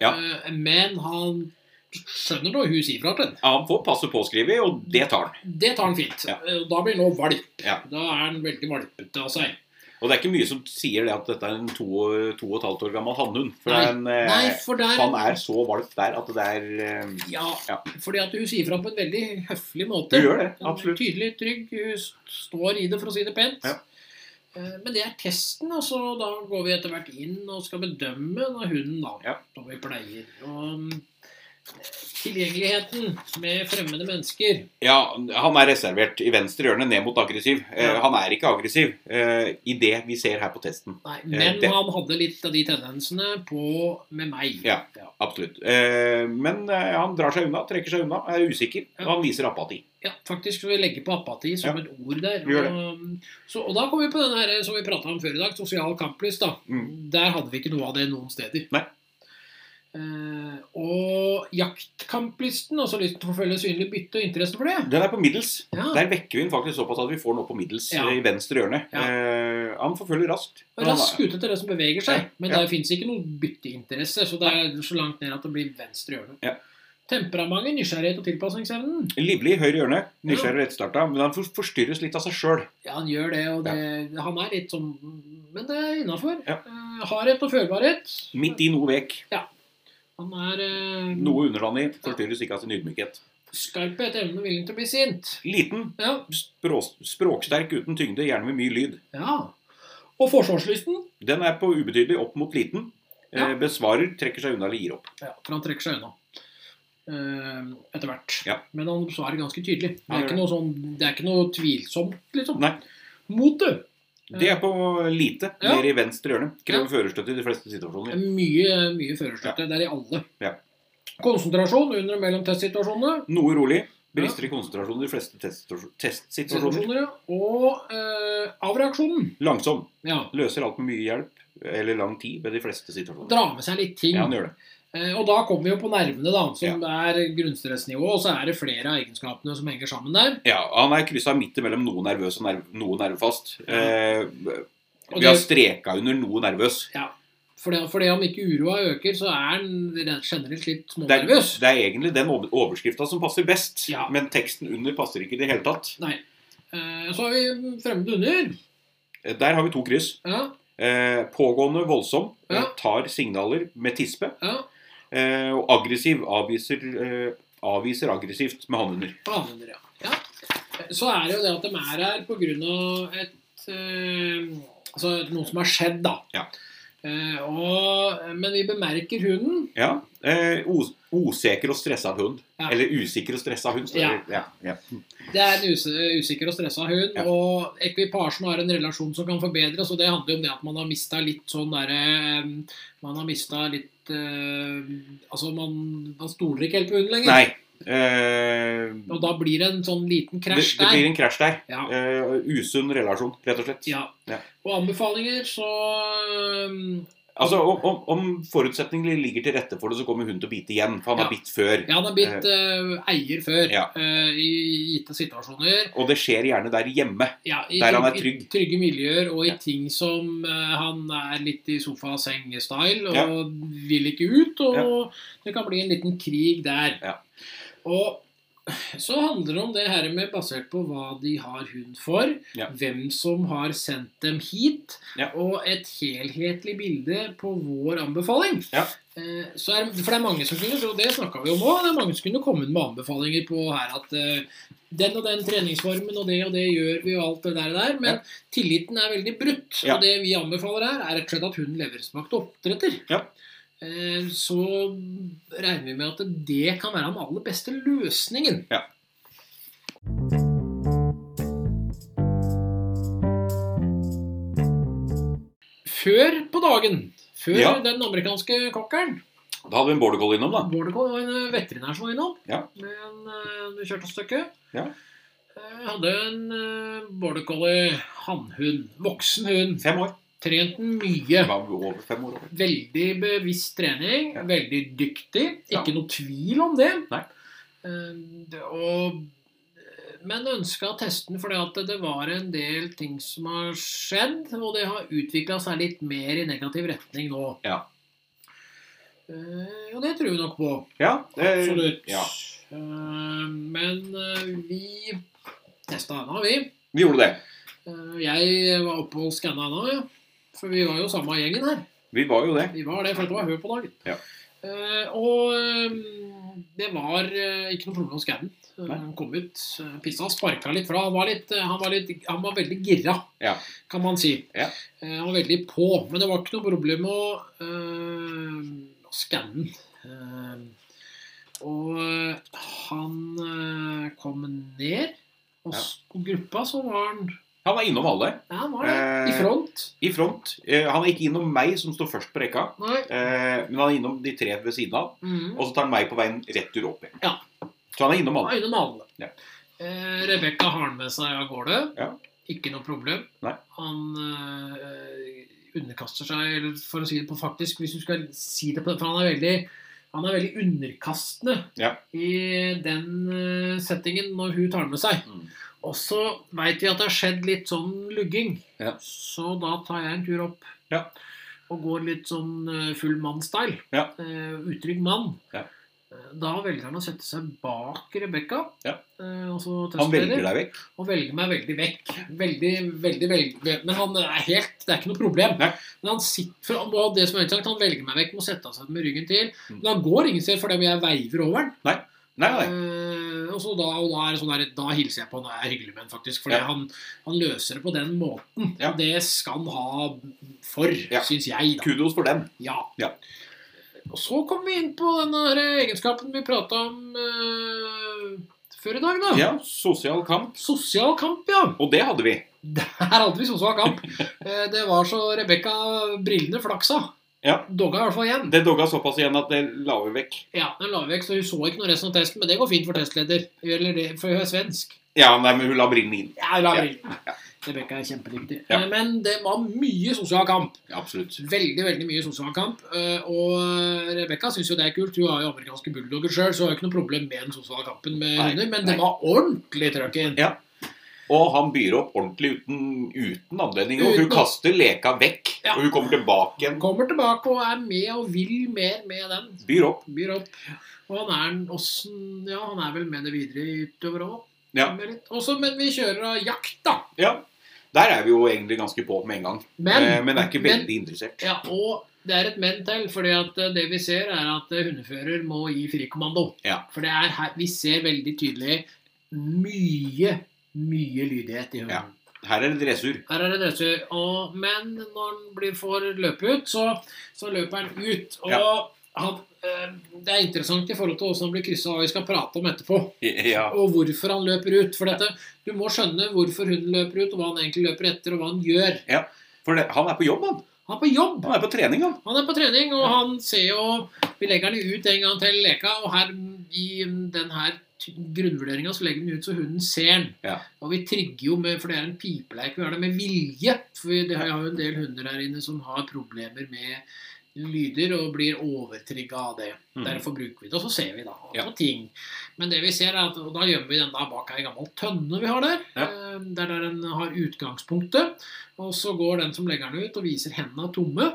Ja.
Eh, Men han skjønner når hun sier fra til ham.
Ja, han får passe påskrevet, og det tar han.
Det tar han fint.
Ja.
Eh, Da blir han nå valp.
Ja.
Da er han veldig valpete av seg.
Og det er ikke mye som sier det at dette er en to, og- to og et halvt år gammel hannhund. For
Nei.
det er en, eh,
Nei, for der
han er så valp der at det er eh,
Ja,
Ja.
fordi at hun sier fra på en veldig høflig
Du
måte.
gjør det.
Hun er
Absolutt.
Tydelig, trygg. Hun st- står i det, for å si det pent.
Ja.
Eh, Men det er testen, og så da går vi etter hvert inn og skal bedømme da hunden, da.
Ja.
Som vi pleier. Og mm, tilgjengeligheten med fremmede mennesker
Ja, han er reservert i venstre hjørne, ned mot aggressiv. Eh,
Ja.
Han er ikke aggressiv eh, i det vi ser her på testen.
Nei, men
Eh, det-
han hadde litt av de tendensene på med meg.
Ja. Absolutt. Eh, Men eh, han drar seg unna, trekker seg unna, er usikker,
Ja.
og han viser apati.
Ja, faktisk skal vi legge på apati som et ord der.
Gjør det.
Og, mm, så, og da kommer vi på den her som vi prata om før i dag, sosial kamplyst. da.
Mm.
Der hadde vi ikke noe av det noen steder.
Nei.
Eh, og jaktkamplysten, altså lysten til å forfølge synlig bytte og interessen for det.
Den er på middels.
Ja,
Der vekker vi den faktisk såpass at vi får den opp på middels
Ja.
eh, i venstre hjørne.
Ja.
Eh, Han forfølger raskt.
og Rask ute etter det som beveger seg. Men
Ja.
der fins ikke noe bytteinteresse, så det er så langt ned at det blir venstre hjørne.
Ja.
Temperamentet, nysgjerrighet og tilpasningsevnen.
Livlig, høyre hjørne. Nysgjerrig og rettstarta. Men han for- forstyrres litt av seg sjøl.
Ja, han gjør det, og det, han er litt sånn Men det er innafor. Eh,
Ja.
hardhet og følbarhet.
Midt i noe vek.
Han er eh,
Noe underdanig. Forstyrres ikke av sin ydmykhet.
skarphet, evne og viljen til å bli sint.
Liten.
Ja.
Språ, språksterk uten tyngde, gjerne med mye lyd.
ja. Og forsvarslysten.
Den er på ubetydelig opp mot liten.
Ja.
Eh, Besvarer, trekker seg unna eller gir opp.
Ja, for han trekker seg unna. eh, etter hvert.
Ja.
Men han svarer ganske tydelig. Det er
Han gjør
ikke noe, sånn, det er ikke noe tvilsomt, liksom.
Nei.
Motet.
Det er på lite,
Ja.
nede i venstre hjørne.
Ja.
Krever førerstøtte i de fleste situasjoner.
Eh, Mye, mye førerstøtte. Det er i alle.
Ja.
Konsentrasjon under og mellom testsituasjonene.
Noe rolig. Brister i konsentrasjon i de fleste testsitu- testsituasjoner.
Situasjoner, ja. Og eh, avreaksjonen.
Langsom.
Ja.
Løser alt med mye hjelp eller lang tid ved de fleste situasjoner.
Dra med seg litt ting.
Ja, han gjør det.
Eh, Og da kommer vi jo på nervene, da, som er grunnstressnivå, og så er det flere av egenskapene som henger sammen der.
Ja, han er kryssa midt imellom noe nervøs og nerv noe nervefast. Eh,
Og
vi har
det,
streka under noe nervøs.
fordi, fordi om ikke uroa øker, så er han rent generelt litt
Det er,
smånervøs.
det er egentlig den over- overskrifta som passer best,
Ja.
men teksten under passer ikke i det hele tatt.
Eh, Så har vi fremmede under.
Eh, Der har vi to kryss.
Ja,
Eh, pågående, voldsom, eh,
Ja.
tar signaler med tispe.
ja.
Eh, og aggressiv avviser, eh, avviser aggressivt med hannhunder.
Avhunder, ja. ja. Eh, Så er det jo det at de er her pga. et eh, Altså noe som har skjedd, da.
Ja.
Eh, og, men vi bemerker hunden.
Ja. Eh, os oseker og stressa hund.
Ja.
Eller usikker og stressa hund. står det. Ja. Ja.
Det er en us usikker og stressa hund,
Ja.
og ekvipasjen har en relasjon som kan forbedres. Og det handler jo om det at man har mista litt sånn derre Man har mista litt eh, Altså, man, man stoler ikke helt på hunden lenger.
Nei. Eh,
Og da blir det en sånn liten
det,
krasj
det
der.
blir en krasj der.
Ja.
Eh, usunn relasjon, rett og slett.
ja.
Ja.
Og anbefalinger, så um,
Altså, om, om, om forutsetningene ligger til rette for det, så kommer hun til å bite igjen. For han
Ja.
har bitt før.
Ja, han har blitt eh, eier før
Ja.
eh, i gitte situasjoner.
Og det skjer gjerne der hjemme.
Ja, i
Der han er
trygg-
trygg.
I trygge miljøer og i
Ja.
ting som eh, han er litt i sofa-seng-style og
Ja.
vil ikke ut. Og det kan bli en liten krig der.
Ja.
Og så handler det om det her med basert på hva de har hund for,
Ja.
hvem som har sendt dem hit,
Ja.
og et helhetlig bilde på vår anbefaling.
Ja.
Eh, Så er, for det er mange som kunne, og det snakket vi om òg, det er mange som kunne komme med anbefalinger på her at eh, den og den treningsformen og det og det gjør vi og alt det der, og der men tilliten er veldig brutt.
Ja.
Og det vi anbefaler her, er rett og slett at hunden leveres tilbake til oppdretter.
Ja.
Eh, Så regner vi med at det kan være den aller beste løsningen.
Ja.
Før på dagen, før
Ja.
den amerikanske kokkeren,
Da hadde vi en border collie innom, da.
Border Collie var en eh, veterinær som var innom
Ja.
med en eh, kjørtelstykke.
Ja.
Jeg hadde en eh, border collie hannhund. Voksen hund.
Fem år.
Trent den mye.
Det var over fem år. over.
Veldig bevisst trening.
Ja.
Veldig dyktig.
Ja.
Ikke noe tvil om det.
Nei.
Eh, det- Og, eh, men ønska å teste den fordi at det var en del ting som har skjedd, og det har utvikla seg litt mer i negativ retning nå.
Ja.
Eh, Og det tror vi nok på.
Ja, det,
Absolutt.
Ja.
Eh, Men eh, vi testa henne, vi.
Vi gjorde det.
Eh, Jeg var oppe og skanna henne, ja. For vi var jo samme gjengen her.
Vi var jo det.
Vi var det, for det var høy på dagen.
Ja.
Eh, og eh, det var eh, ikke noe problem å skanne den. Eh,
Nei.
Han kom ut, uh, pissa og sparka litt fra. Han var, litt, eh, han var, litt, han var veldig gira,
Ja.
kan man si.
Ja.
Eh, han var veldig på. Men det var ikke noe problem å eh, skanne den. Eh, og eh, han eh, kom ned, og
Ja.
s- og gruppa så var han
Han var innom alle.
Ja, han var det. I
Eh,
front.
I front. Eh, Han er ikke innom meg, som står først på rekka.
Nei.
eh, Men han er innom de tre ved siden av.
Mm.
Og så tar han meg på veien rett tur opp igjen.
Ja.
Så han er innom alle.
Ja, innom alle.
Ja.
Eh, Rebekka har han med seg av gårde.
Ja.
Ikke noe problem.
Nei.
Han eh, underkaster seg, eller for å si det på faktisk, hvis du skal si det på den, for han er veldig han er veldig underkastende
Ja.
i den eh, settingen når hun tar den med seg.
Mm.
Og så veit vi at det har skjedd litt sånn lugging,
Ja.
så da tar jeg en tur opp.
Ja.
Og går litt sånn eh, full mann-style.
Ja.
Eh, utrygg mann.
Ja.
Eh, Da velger han å sette seg bak Rebekka.
Ja.
eh, og så
Han
testleder,
velger deg vekk.
Og velger meg veldig vekk. Veldig, veldig, veldig Men han er helt Det er ikke noe problem.
Nei.
Men han sitter for, og det som er interessant, han velger meg vekk med å sette seg med ryggen til.
Mm.
Men han går ingen sted fordi jeg veiver over han.
Nei, nei.
Eh, og så da, og da, er det sånn der, da hilser jeg på han og er hyggelig med han, faktisk. Fordi
Ja.
han, han løser det på den måten.
Ja.
Det skal han ha for,
Ja.
syns jeg. da.
Kudos for den.
Ja.
Ja.
Og så kom vi inn på den her egenskapen vi prata om eh, før i dag, da.
Ja, sosial kamp.
Sosial kamp, ja. [laughs]
Og det hadde vi.
Der hadde vi sosial kamp. Eh, det var så Rebekka brillene flaksa.
Ja.
Dogga i hvert fall igjen.
Det dogga såpass igjen at det la vi vekk.
Ja, den la vi vekk, så Hun så ikke noe resten av testen, men det går fint for testleder. Eller det, for hun er svensk.
Ja, nei, men hun la brillene inn.
Ja, la
Ja.
meg Rebekka er kjempedyktig.
Ja.
Eh, Men det var mye sosial kamp.
Absolutt.
Veldig veldig mye sosial kamp. Eh, Og Rebekka syns jo det er kult. Hun har jo amerikanske bulldogger sjøl, så hun har jo ikke noe problem med den sosiale kampen med
Nei,
hunder. Men
nei.
det var ordentlig trøkk inn.
Ja. Og han byr opp ordentlig uten, uten anledning. Og hun
Uten-
kaster leka vekk.
Ja.
Og hun kommer tilbake igjen.
Kommer tilbake og er med og vil mer med den.
Byr opp.
Byr opp. Og han er, en- åssen- ja, han er vel med det videre utover òg.
Ja.
Men vi kjører av jakt, da.
Ja. Der er vi jo egentlig ganske på med en gang.
Men,
Eh, men er ikke
men-
veldig interessert.
Ja, og det er et men til, fordi at eh, det vi ser er at eh, hundefører må gi frikommando.
Ja.
For det er her, vi ser veldig tydelig mye, mye lydighet i hunden.
Ja. Her er det dressur.
Her er det dressur, og, men når han blir får løpe ut, så, så løper han ut. Og han, eh, det er interessant i forhold til hvordan han blir kryssa, og vi skal prate om etterpå.
[laughs] Ja.
Og hvorfor han løper ut. For dette, du må skjønne hvorfor hunden løper ut, og hva han egentlig løper etter, og hva han gjør.
For det, han er på jobb, han.
Han er på jobb!
Han er på trening, han.
Han er på trening, og han ser jo Vi legger den ut en gang til leka, og her i den her grunnvurderinga så legger vi den ut så hunden ser den.
Ja.
Og vi trigger jo med For det er en pipeleik. Vi har det med vilje. For vi- det har jo en del hunder her inne som har problemer med lyder og blir overtrigga av det.
Mhm.
Derfor bruker vi det, og så ser vi da på
Ja.
ting. Men det vi ser er at og da gjemmer vi den der bak ei gammel tønne vi har der.
Ja.
eh, Det er der den har utgangspunktet. Og så går den som legger den ut, og viser hendene tomme.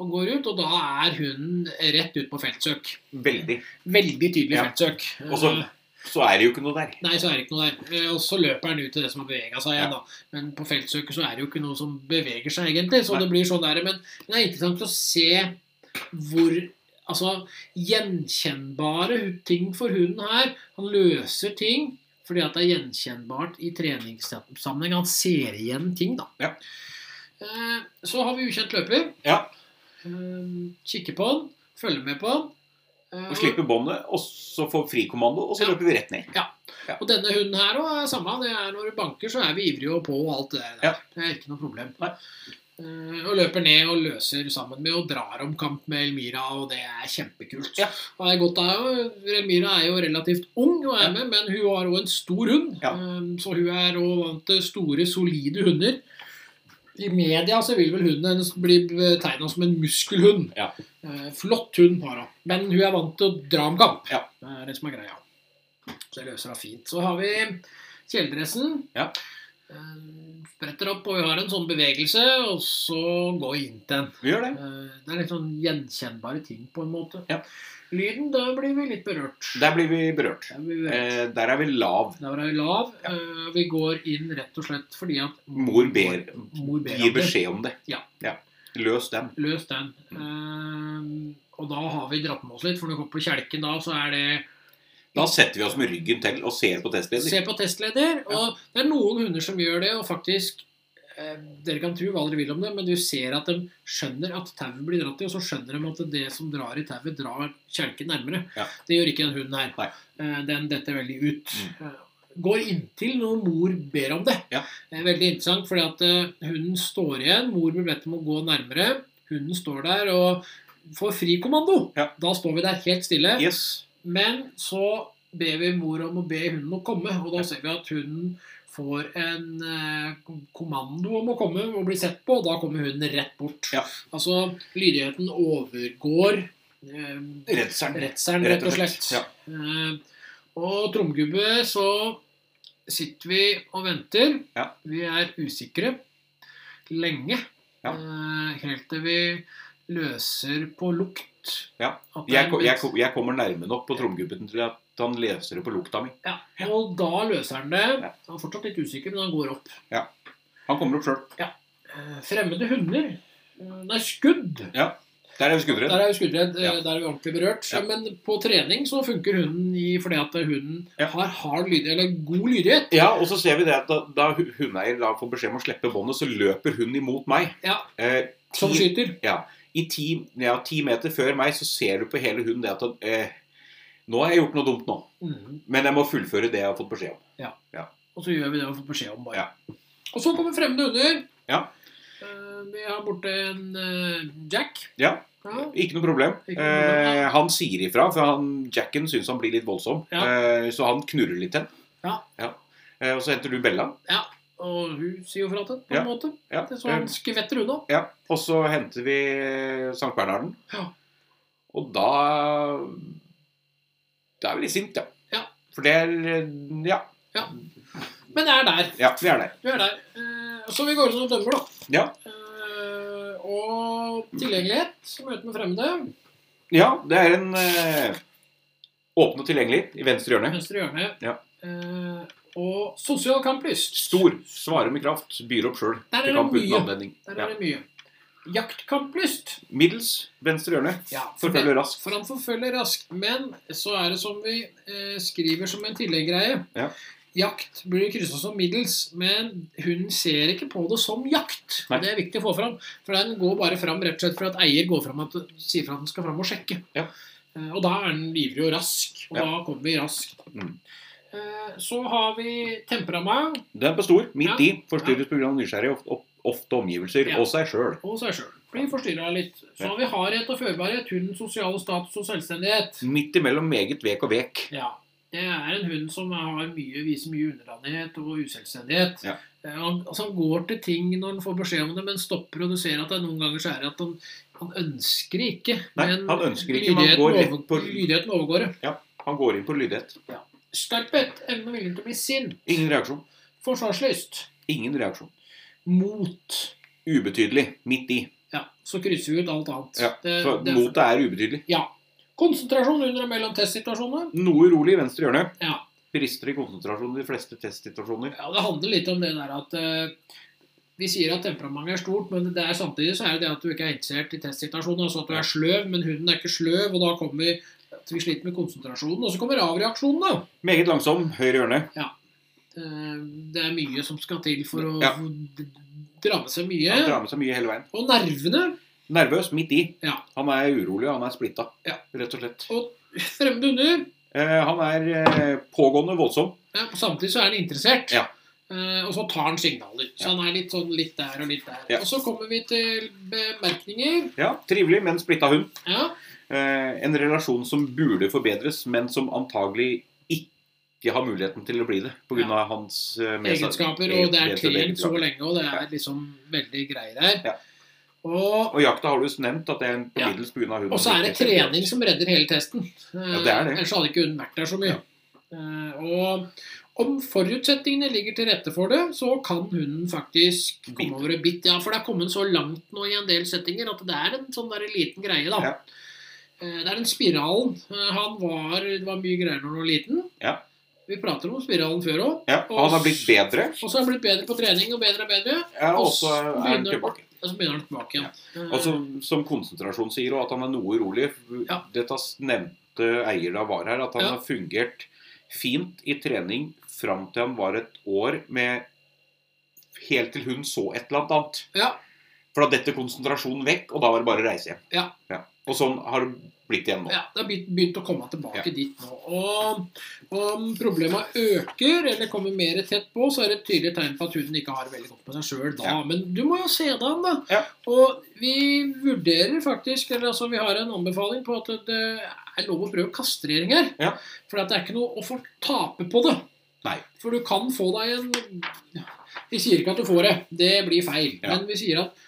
Og går ut, og da er hunden rett ut på feltsøk.
Veldig.
Veldig tydelig
Ja.
feltsøk.
Og så,
Eh,
så er det jo ikke noe der.
Nei, så er det ikke noe der. Eh, Og så løper han ut til det som har bevega seg igjen,
Ja.
da. Men på feltsøket så er det jo ikke noe som beveger seg, egentlig. Så
Nei.
det blir sånn der. Men men det er interessant å se hvor Altså, gjenkjennbare hu- ting for hunden her. Han løser ting fordi at det er gjenkjennbart i treningssammenheng. Han ser igjen ting, da.
Ja.
Eh, Så har vi ukjent løper.
Ja.
Eh, Kikker på han, følger med på han. Eh,
Og slipper båndet, og så får frikommando, og så
Ja.
løper vi rett ned.
Og denne hunden her òg er samme. Det er når du banker, så er vi ivrige og på og alt det der.
Ja.
Det er ikke noe problem.
Nei.
Eh, Og løper ned og løser sammen med og drar om kamp med Elmira, og det er kjempekult.
Ja.
Og det er godt er jo, Elmira er jo relativt ung og er
Ja.
med, men hun har òg en stor hund.
Ja.
Eh, Så hun er òg vant til store, solide hunder. I media så vil vel hunden hennes bli betegna som en muskelhund.
Ja.
Eh, Flott hund har hun, men hun er vant til å dra om kamp.
Ja.
Det er det som er greia. Så det løser hun fint. Så har vi kjeledressen.
Ja.
Eh, Spretter opp, og vi har en sånn bevegelse, og så går vi inn til den.
Vi gjør det.
Eh, Det er litt sånn gjenkjennbare ting, på en måte.
Ja.
Lyden, da blir vi litt berørt.
Der blir vi berørt.
Der blir vi berørt.
Eh, der er vi lav.
Der er vi lav. Eh, Vi går inn rett og slett fordi at
Mor ber.
mor ber
Gir
om det.
beskjed om det.
Ja.
Løs den.
Løs den. Eh, og da har vi dratt med oss litt, for når vi kommer på kjelken da, så er det
Da setter vi oss med ryggen til og ser på testleder.
Se på testleder. Og det er noen hunder som gjør det, og faktisk eh, Dere kan tro hva dere vil om det, men du ser at de skjønner at tauet blir dratt i, og så skjønner de at det som drar i tauet, drar kjelken nærmere.
Ja.
Det gjør ikke den hunden her.
Nei. Mm.
Eh, Den detter veldig ut. Eh, Går inntil når mor ber om det.
Ja.
Det er veldig interessant, fordi at eh, hunden står igjen. Mor blir bedt om å gå nærmere. Hunden står der og får frikommando.
Ja.
Da står vi der helt stille.
Yes.
Men så ber vi mor om å be hunden å komme, og da ser vi at hunden får en eh, kom- kommando om å komme og bli sett på, og da kommer hunden rett bort.
Ja.
Altså lydigheten overgår eh,
Redselen.
redselen, rett og slett.
Ja.
Eh, og tromgubbe, så sitter vi og venter.
Ja.
Vi er usikre lenge.
Ja.
Eh, helt til vi løser på lukt.
Ja.
At det er
Jeg,
en
ko- jeg,
vits-
ko- jeg kommer nærme nok på tromgubben til at han leser det på lukta mi.
Ja, og da løser han det.
Ja.
Han er fortsatt litt usikker, men han går opp.
Han kommer opp sjøl.
Eh, Fremmede hunder Eh, Nei, skudd.
Der er vi
Der
skuddredd.
er jo skuddredd. eh,
Ja.
Der er vi ordentlig berørt.
Ja.
Men på trening så funker hunden i, fordi at hunden
Ja.
har hard lyd, eller god lydighet.
Ja, og så ser vi det at da, da hu- hundeeier da får beskjed om å slippe båndet, så løper hun imot meg.
Ja.
Eh,
Som
ti,
skyter.
I ti, ja, ti meter før meg så ser du på hele hunden det at eh, Nå har jeg gjort noe dumt nå,
Mhm.
men jeg må fullføre det jeg har fått beskjed om.
Og så gjør vi det vi får beskjed om, bare.
Ja.
Og så kommer fremmede hunder.
Ja.
Eh, Vi har borte en eh, Jack.
Ja.
Ja.
Ikke noe problem.
Ikke noe problem,
Eh, han sier ifra, for han, Jacken syns han blir litt voldsom.
Ja.
Eh, så han knurrer litt til.
Ja.
Eh, og så henter du Bella.
Og hun sier jo fra til, på
Ja.
en måte.
Ja. Eh,
Så han skvetter unna.
Ja, og så henter vi eh, Sankt Bernharden.
Ja.
Og da Da er vi litt sint, ja.
Ja.
For det er eh, Ja,
Men det er der.
ja vi er der.
Du er der. Eh, Så vi går ut og dømmer, da.
Ja.
Eh, Og tilgjengelighet, møte med fremmede.
Ja, det er en eh, åpen og tilgjengelig i venstre hjørne.
Venstre hjørne.
Ja.
Eh, Og sosial kamplyst.
Stor. Svarer med kraft. Byr opp sjøl.
Der er
Til
det
kamp uten
mye.
anledning.
Der
Ja.
er det mye. Jaktkamplyst.
Middels venstre hjørne.
Ja, for det-
Forfølger raskt.
For han forfølger raskt, men så er det som vi eh, skriver som en tilleggreie.
Ja.
Jakt blir kryssa som middels, men hunden ser ikke på det som jakt.
Nei.
Det er viktig å få fram, for den går bare fram rett og slett for at eier går fram at, sier fra at den skal fram og sjekke.
Ja.
Eh, og da er den livlig og rask, og
Ja.
da kommer vi raskt.
Mm.
Eh, så har vi temperament
Den på stor. Midt
Ja.
i. Forstyrres pga. nysgjerrige, ofte, opp- ofte omgivelser.
Ja.
Og seg sjøl.
og seg sjøl. Blir forstyrra litt. Så har vi hardhet og førbarhet, hundens sosiale status og selvstendighet.
Midt imellom meget vek og vek.
Ja. Det er en hund som har mye, viser mye underdanighet og uselvstendighet.
Ja.
Eh, Han, altså han går til ting når han får beskjed om det, men stopper. Og du ser at det er noen ganger så er det at han, han ønsker ikke.
Nei,
men
han ønsker ikke, men han
lydigheten
går rett
over-
på-
Lydigheten overgår det.
Han går inn på lydighet.
Skarphet, evnen og viljen til å bli sint.
Ingen reaksjon.
Forsvarslyst.
Ingen reaksjon.
Mot.
Ubetydelig. Midt i.
Ja, så krysser vi ut alt annet.
Ja,
Det-
Så
det er-
motet er ubetydelig.
ja. Konsentrasjon under og mellom testsituasjonene.
Noe urolig i venstre hjørne.
Ja.
Brister i konsentrasjon i de fleste testsituasjoner.
Ja, det handler litt om det der at eh, vi sier at temperamentet er stort, men det er samtidig så er det det at du ikke er interessert i testsituasjonen. Altså at du er sløv, men hunden er ikke sløv, og da kommer vi at vi sliter med konsentrasjonen. Og så kommer avreaksjonen, da.
Meget langsom. Høyre hjørne.
Eh, Det er mye som skal til for å
Ja.
dra med seg mye.
Han drar med seg mye hele veien.
Og nervene.
Nervøs. Midt i.
Ja.
Han er urolig, og han er splitta.
Ja.
Rett og slett.
Fremmede hunder.
Eh, han er eh, pågående voldsom.
Ja, samtidig så er han interessert.
Ja.
Eh, og så tar han signaler. Så
Ja.
han er litt sånn litt der og litt der.
Ja.
Og så kommer vi til bemerkninger.
Ja, Trivelig, men splitta hund.
Ja.
Eh, en relasjon som burde forbedres, men som antagelig ikke har muligheten til å bli det. Pga.
Ja.
av hans eh, medsa-
egenskaper, og det er
medfødte
trent så
egenskaper.
lenge, og det
Ja.
er liksom veldig greier her.
Ja.
Og,
Og jakta har du jo nevnt at det er en
Ja.
middels pga. hunden.
og så er det trening som redder hele testen.
Ja, det er det.
Eh, Ellers hadde ikke hun vært der så mye.
Ja.
Eh, Og om forutsetningene ligger til rette for det, så kan hunden faktisk komme
Bite.
over et bitt. Ja, for det er kommet så langt nå i en del settinger at det er en sånn der liten greie, da.
Ja.
Eh, Det er den spiralen. Eh, Han var, det var mye greier når han var liten.
Ja.
Vi prater om spiralen før òg.
Ja, og han har blitt bedre,
Og så har han blitt bedre på trening og bedre og bedre.
ja, og så er han
Begynner-
tilbake.
Og så begynner han tilbake igjen. Eh,
Og som- som konsentrasjon sier, og at han er noe urolig.
Ja.
Dette nevnte eier da var her, at han
Ja.
har fungert fint i trening fram til han var et år med Helt til hun så et eller annet annet.
ja,
For da detter konsentrasjonen vekk, og da var det bare å reise hjem.
Ja.
Og sånn har det blitt igjen nå.
Eh, ja, det har begynt, begynt å komme tilbake dit nå. Og om problema øker eller kommer mer tett på, så er det et tydelig tegn på at huden ikke har det veldig godt med seg sjøl da.
Ja.
Men du må jo se deg an, da.
Ja.
Og vi vurderer faktisk, eller altså vi har en anbefaling på at det er lov å prøve kastrering her.
Ja.
For at det er ikke noe å få tape på det.
Nei.
For du kan få deg en Vi sier ikke at du får det. Det blir feil.
Ja.
Men vi sier at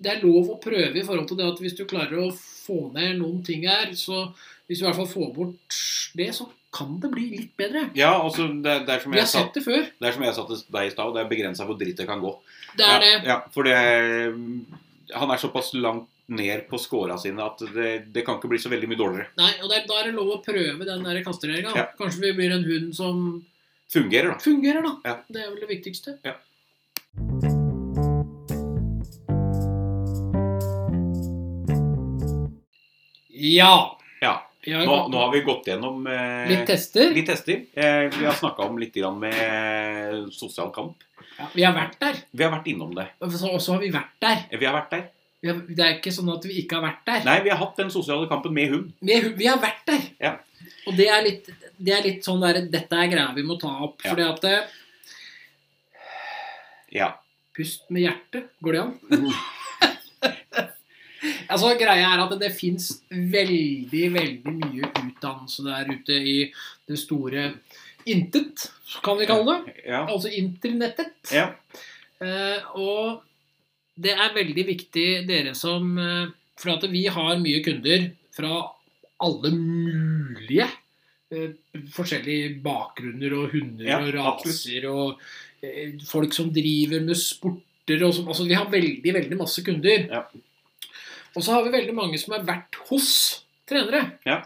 det er lov å prøve i forhold til det at hvis du klarer å få ned noen ting her, så hvis du i hvert fall får bort det, så kan det bli litt bedre.
Ja, og så det, det, er som
Vi
jeg
har
sa,
sett det før.
det er som jeg sa til deg i stad, det er begrensa hvor dritt det kan gå.
Det er
ja,
det.
Ja, for det Han er såpass langt ned på scora sine at det, det kan ikke bli så veldig mye dårligere.
Nei, og det er, Da er det lov å prøve den der kastreringa.
Ja.
Kanskje vi blir en hund som
Fungerer, da.
fungerer, da.
Ja.
Det er vel det viktigste.
Ja.
Ja.
Ja.
Vi har
Nå,
gått
nå har vi gått gjennom eh,
litt tester.
litt tester. Eh, vi har snakka om litt grann med sosial kamp.
Ja, vi har vært der.
Vi har vært innom det. Eh,
Og så og så har vi vært der.
Vi har vært der.
Vi har, det er ikke sånn at vi ikke har vært der.
Nei, vi har hatt den sosiale kampen med hund.
Vi, vi har vært der.
Ja.
Og det er, litt, det er litt sånn der Dette er greia vi må ta opp.
Ja.
Fordi at eh, det,
Ja.
Pust med hjertet. Går det an?
Uh.
[laughs] Altså, greia er at det fins veldig, veldig mye utdannelse der ute i det store intet, kan vi kalle det.
Ja.
Altså internettet.
ja.
Eh, og det er veldig viktig, dere som eh, For at vi har mye kunder fra alle mulige eh, forskjellige bakgrunner og hunder
Ja,
og
absolutt.
raser og eh, folk som driver med sporter og sånn. Altså, vi har veldig, veldig masse kunder.
Ja.
Og så har vi veldig mange som har vært hos trenere.
Ja.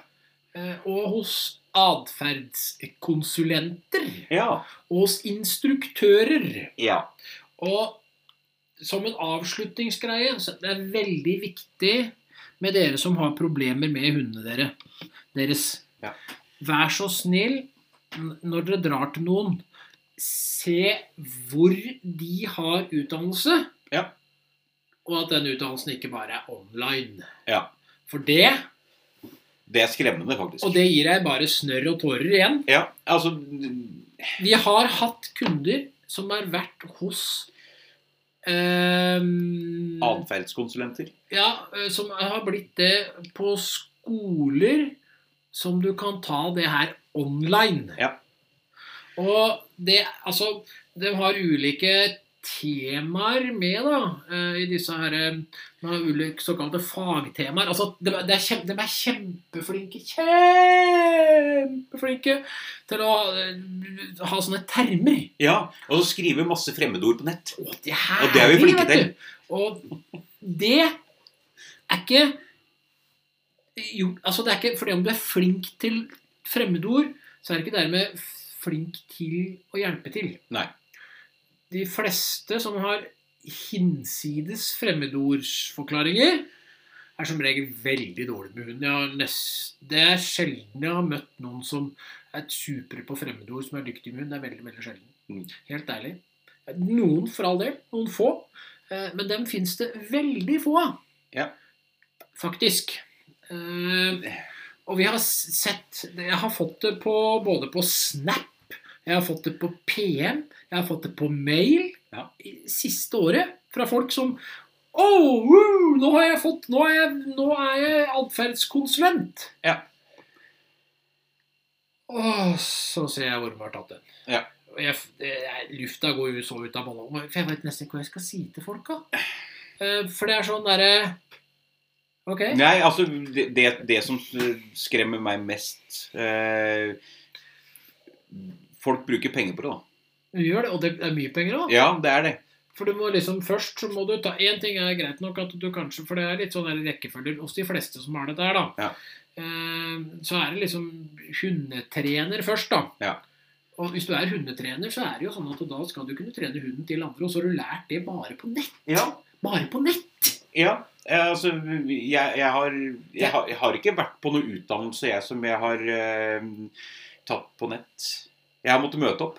Eh, og hos atferdskonsulenter.
ja.
Og hos instruktører.
ja.
Og som en avslutningsgreie så det er veldig viktig med dere som har problemer med hundene dere, deres.
Ja.
Vær så snill, n- når dere drar til noen, se hvor de har utdannelse,
Ja.
og at den utdannelsen ikke bare er online.
Ja.
For det,
Det er skremmende, faktisk.
og det gir deg bare snørr og tårer igjen.
Ja, altså
Vi har hatt kunder som har vært hos ehm,
Atferdskonsulenter.
Ja, eh, som har blitt det på skoler som du kan ta det her online.
Ja.
Og det Altså, de har ulike temaer med, da, eh, i disse her eh, De har ulike såkalte fagtemaer. Altså, de, er- de, er kjem, de er kjempeflinke, kjempeflinke til å eh, ha sånne termer.
Ja, og så skrive masse fremmedord på nett.
Å, det her
Og det er vi flinke
vet du. Og det er ikke jo, altså det er ikke, Fordi om du er flink til fremmedord, så er det ikke dermed flink til å hjelpe til.
Nei.
De fleste som har hinsides fremmedordsforklaringer, er som regel veldig dårlig med hund. Jeg har nest, det er sjelden jeg har møtt noen som er supre på fremmedord, som er dyktig med hund. Det er veldig, veldig sjelden.
Mm.
Helt ærlig. Noen for all del, noen få. Eh, Men dem fins det veldig få av.
Ja.
Faktisk. Eh, Og vi har s- sett Jeg har fått det på, både på Snap Jeg har fått det på PM. Jeg har fått det på mail
Ja.
i siste året fra folk som Oh, woo, nå har jeg fått Nå er jeg, nå er jeg atferdskonsulent.
Ja.
Åh, så ser jeg hvor vi har tatt den.
Ja.
Og Jeg, det er- lufta går jo så ut av ballongen. For jeg veit nesten ikke hva jeg skal si til folk. da. Eh, For det er sånn derre Ok.
Nei, altså det, det- det som skremmer meg mest eh, Folk bruker penger på det, da.
Du gjør det, og det er mye penger òg.
Ja, det er det.
For du må liksom først så må du ta Én ting er greit nok at du kanskje For det er litt sånn der rekkefølger hos de fleste som har dette her, da.
Ja.
Eh, Så er det liksom hundetrener først, da.
Ja.
Og hvis du er hundetrener, så er det jo sånn at da skal du kunne trene hunden til andre, og så har du lært det bare på nett.
Ja.
Bare på nett!
ja. eh, Altså, jeg, jeg, har, jeg, har, jeg har ikke vært på noen utdannelse jeg som jeg har eh, tatt på nett. Jeg har måttet møte opp.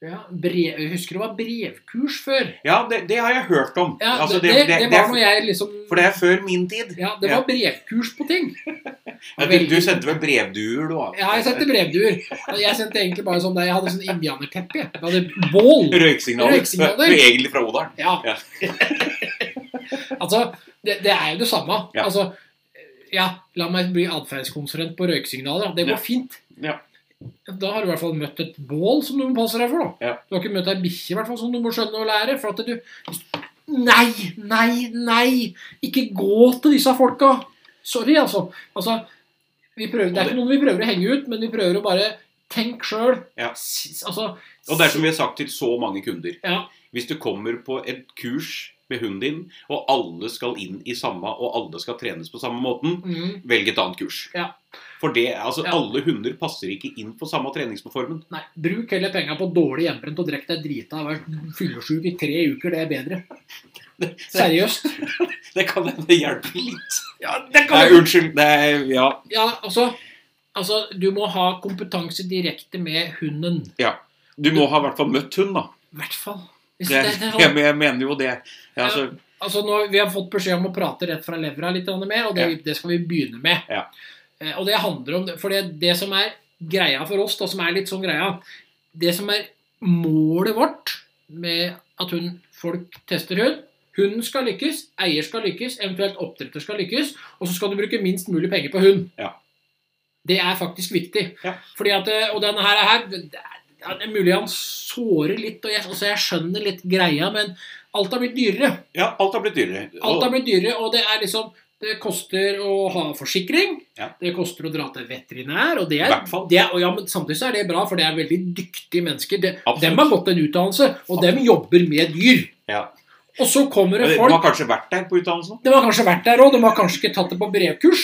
Ja, brev, jeg husker det var brevkurs før.
Ja, det, det har jeg hørt om.
Ja,
Altså,
det, det, det,
er-
var når jeg liksom
For det er før min tid.
Ja, det var brevkurs på ting.
Ja, Du, du sendte vel brevduer, du? da?
Ja, jeg sendte brevduer. Jeg sendte egentlig bare sånn der, jeg hadde sånn indianerteppe. jeg. Jeg hadde bål.
eh, Røyksignaler.
Røyksignaler.
Du er [laughs] egentlig fra Odalen.
Ja.
Ja.
[laughs] altså, det, det er jo det samme.
Ja.
Altså, ja, la meg bli atferdskonsulent på røyksignaler. da. Det går
Ja.
fint.
Ja.
Da har du i hvert fall møtt et bål som du må passe deg for. da.
Ja.
Du har ikke møtt ei bikkje i hvert fall, som du må skjønne og lære. for at du... Nei, nei, nei! Ikke gå til disse folka! Sorry, altså. altså vi prøver, det er
Og det-
ikke noen vi prøver å henge ut, men vi prøver å bare tenke sjøl.
Ja.
Altså,
Og det er som vi har sagt til så mange kunder.
Ja.
Hvis du kommer på et kurs med hunden din, og alle skal inn i samme, og alle skal trenes på samme måten,
mm.
velg et annet kurs.
Ja.
For det, altså,
Ja.
alle hunder passer ikke inn på samme treningsformen.
Nei, bruk heller penga på dårlig hjemmebrent og drikk deg drita og vær fyllesyk i tre uker. Det er bedre. Seriøst.
Det kan hende hjelpe litt.
Ja, det
Nei,
kan du.
unnskyld. Nei, ja.
Ja, altså, altså Du må ha kompetanse direkte med hunden.
Du må ha i hvert fall møtt
[laughs]
hund, da.
I hvert fall. Hvis
Jeg,
det er
jeg,
sånn-
jeg mener jo det. Ja, altså,
altså nå, Vi har fått beskjed om å prate rett fra levra litt grann mer, og det, det skal vi begynne med.
Ja.
Eh, Og det handler om det- For det, det som er greia for oss, da, som er litt sånn greia Det som er målet vårt med at hun, folk tester hund Hunden skal lykkes, eier skal lykkes, eventuelt oppdretter skal lykkes, og så skal du bruke minst mulig penger på hund.
Ja.
Det er faktisk viktig.
Ja.
Fordi at, eh, og denne her, her det er- ja, Det er mulig han sårer litt, og jeg, altså jeg skjønner litt greia, men alt har blitt dyrere.
ja, alt har blitt dyrere.
Alt har blitt dyrere, og det er liksom det koster å ha forsikring,
Ja.
det koster å dra til veterinær og det er,
Hvertfall.
det er, og ja, men Samtidig så er det bra, for det er veldig dyktige mennesker. De,
Absolutt.
dem har gått en utdannelse, og dem jobber med dyr.
Ja.
Og så kommer det
Du
folk
har kanskje vært der på utdannelsen?
De har kanskje vært der òg, de har kanskje ikke tatt det på brevkurs.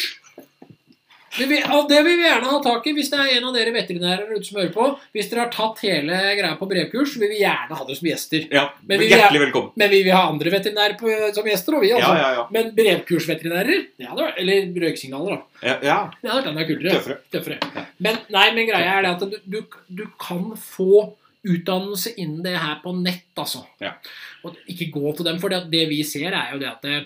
Det vil, og det vil vi gjerne ha tak i hvis det er en av dere veterinærer ute som hører på. Hvis dere har tatt hele greia på brevkurs, vil vi gjerne ha dere som gjester.
Ja.
Men vi-
Hjertelig velkommen.
Men vi vil ha andre veterinærer på, som gjester, og vi, altså.
Ja, ja, ja.
Men brevkursveterinærer, det hadde vært, eller røyksignaler, da.
ja, ja.
Det hadde vært enda kulere.
Tøffere.
Tøffere.
Ja.
Men, nei, men greia er det at du, du, du kan få utdannelse innen det her på nett, altså.
Ja.
Og ikke gå til dem, for det, at det vi ser, er jo det at det,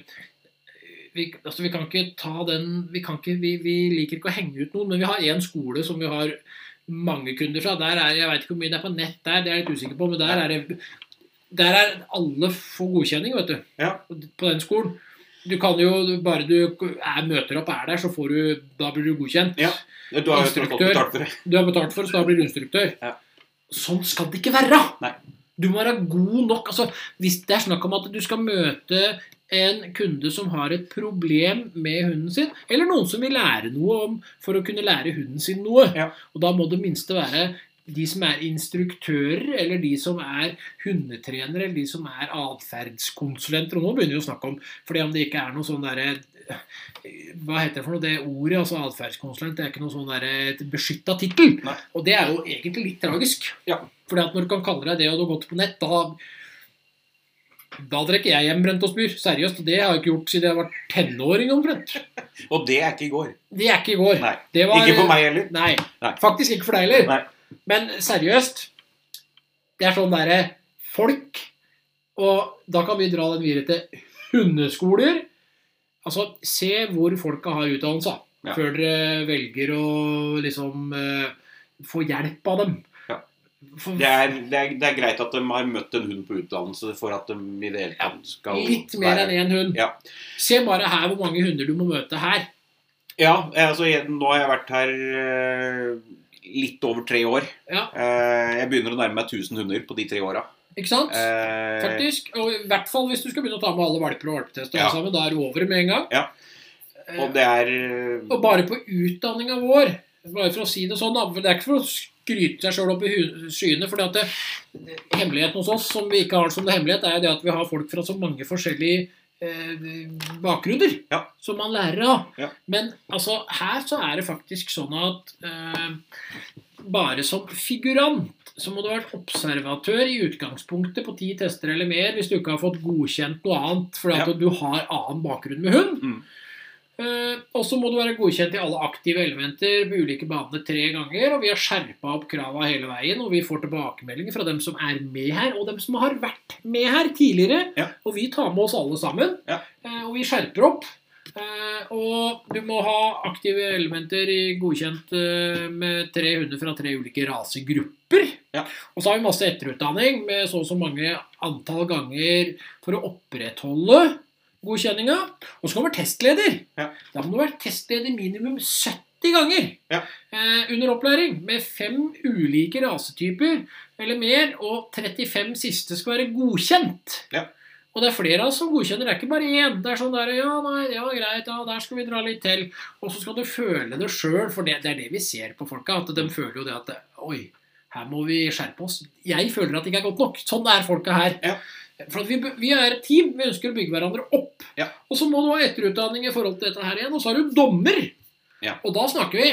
vi, altså vi kan ikke ta den Vi, kan ikke, vi, vi liker ikke å henge ut noen, men vi har én skole som vi har mange kunder fra. Der er, jeg vet ikke hvor mye det er på nett der, det er jeg litt usikker på, men der er det der er alle for godkjenning, vet du.
Ja.
På den skolen. Du kan jo, bare du er, møter opp og er der, så får du, da blir du godkjent.
Du har jo tross alt
Instruktør.
betalt for det.
Du er betalt for, så da blir du instruktør.
Ja.
Sånn skal det ikke være!
Nei.
Du må være god nok. Altså, hvis det er snakk om at du skal møte en kunde som har et problem med hunden sin, eller noen som vil lære noe om for å kunne lære hunden sin noe,
Ja.
og da må det minste være de som er instruktører, eller de som er hundetrenere, eller de som er atferdskonsulenter. Og nå begynner vi å snakke om fordi om det ikke er noe sånn derre Hva heter det for noe? Det ordet, altså atferdskonsulent, det er ikke noe sånn derre beskytta tittel.
Nei.
Og det er jo egentlig litt tragisk.
Ja.
Fordi at når du kan kalle deg det, og du har gått på nett, da da drikker jeg hjemmebrent og spyr. Seriøst. og Det har jeg ikke gjort siden jeg var tenåring omtrent.
Og det er ikke i går.
Det er ikke i går.
Nei.
Det var,
Ikke for meg heller.
Nei.
Nei.
Faktisk ikke for deg heller.
Nei.
Men seriøst, det er sånn derre folk Og da kan vi dra den videre til hundeskoler. Altså, se hvor folka har utdannelse
Ja.
før dere velger å liksom eh, få hjelp av dem.
Ja.
for,
Det er, det, er, det er greit at de har møtt en hund på utdannelse for at de i det hele tatt skal
litt mer enn én hund.
Ja.
Se bare her hvor mange hunder du må møte her.
Ja, eh, altså jeg, nå har jeg vært her eh, litt over tre år.
Ja.
Eh, jeg begynner å nærme meg 1000 hunder på de tre åra.
Ikke sant?
Eh,
Faktisk. Og i hvert fall hvis du skal begynne å ta med alle valper og valpetester
Ja.
alle sammen. Da er det over med en gang.
Ja.
Eh,
og det er eh,
Og bare på utdanninga vår Bare for å si det sånn, da, for det er ikke for å skryte seg sjøl opp i hu- skyene. fordi at det, Hemmeligheten hos oss, som vi ikke har som det hemmelighet, er det at vi har folk fra så mange forskjellige eh, bakgrunner
Ja.
som man lærer av.
Ja.
Men altså, her så er det faktisk sånn at eh, bare som figurant så må du ha vært observatør i utgangspunktet på ti tester eller mer hvis du ikke har fått godkjent noe annet fordi at
Ja.
du har annen bakgrunn med hund.
Mm.
Eh, og så må du være godkjent i alle aktive elementer på ulike baner tre ganger. Og vi har skjerpa opp krava hele veien, og vi får tilbakemeldinger fra dem som er med her, og dem som har vært med her tidligere.
Ja.
Og vi tar med oss alle sammen.
Ja.
eh, og vi skjerper opp. Eh, og du må ha aktive elementer i godkjent eh, med tre hunder fra tre ulike rasegrupper.
Ja.
Og så har vi masse etterutdanning med så og så mange antall ganger for å opprettholde godkjenninga. Og så kommer testleder.
Ja.
Da må du være testleder minimum 70 ganger
Ja.
eh, under opplæring. Med fem ulike rasetyper eller mer, og 35 siste skal være godkjent.
Ja.
Og det er flere av oss som godkjenner, det er ikke bare én. Det er sånn der, ja, nei, ja, greit, ja, der skal vi dra litt til. Og så skal du føle det sjøl, for det, det er det vi ser på folka. At de føler jo det at Oi, her må vi skjerpe oss. Jeg føler at det ikke er godt nok. Sånn er folka her.
Ja.
For at vi, vi er et team. Vi ønsker å bygge hverandre opp.
Ja.
Og så må du ha etterutdanning i forhold til dette her igjen. Og så har du dommer.
Ja.
Og da snakker vi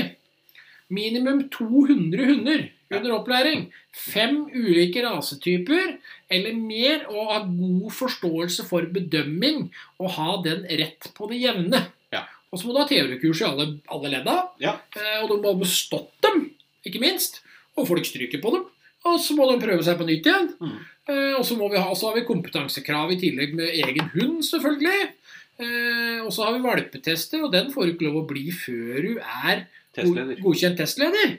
minimum 200 hunder under opplæring. Fem ulike rasetyper eller mer, og ha god forståelse for bedømming og ha den rett på det jevne.
Ja.
Og så må du ha teorikurs i alle, alle ledda.
Ja.
Eh, Og du må ha bestått dem, ikke minst. Og folk stryker på dem. Og så må de prøve seg på nytt igjen.
Mm.
Eh, Og så må vi ha, så har vi kompetansekrav i tillegg med egen hund, selvfølgelig. Eh, Og så har vi valpetester, og den får du ikke lov å bli før du er
testleder.
god- godkjent testleder.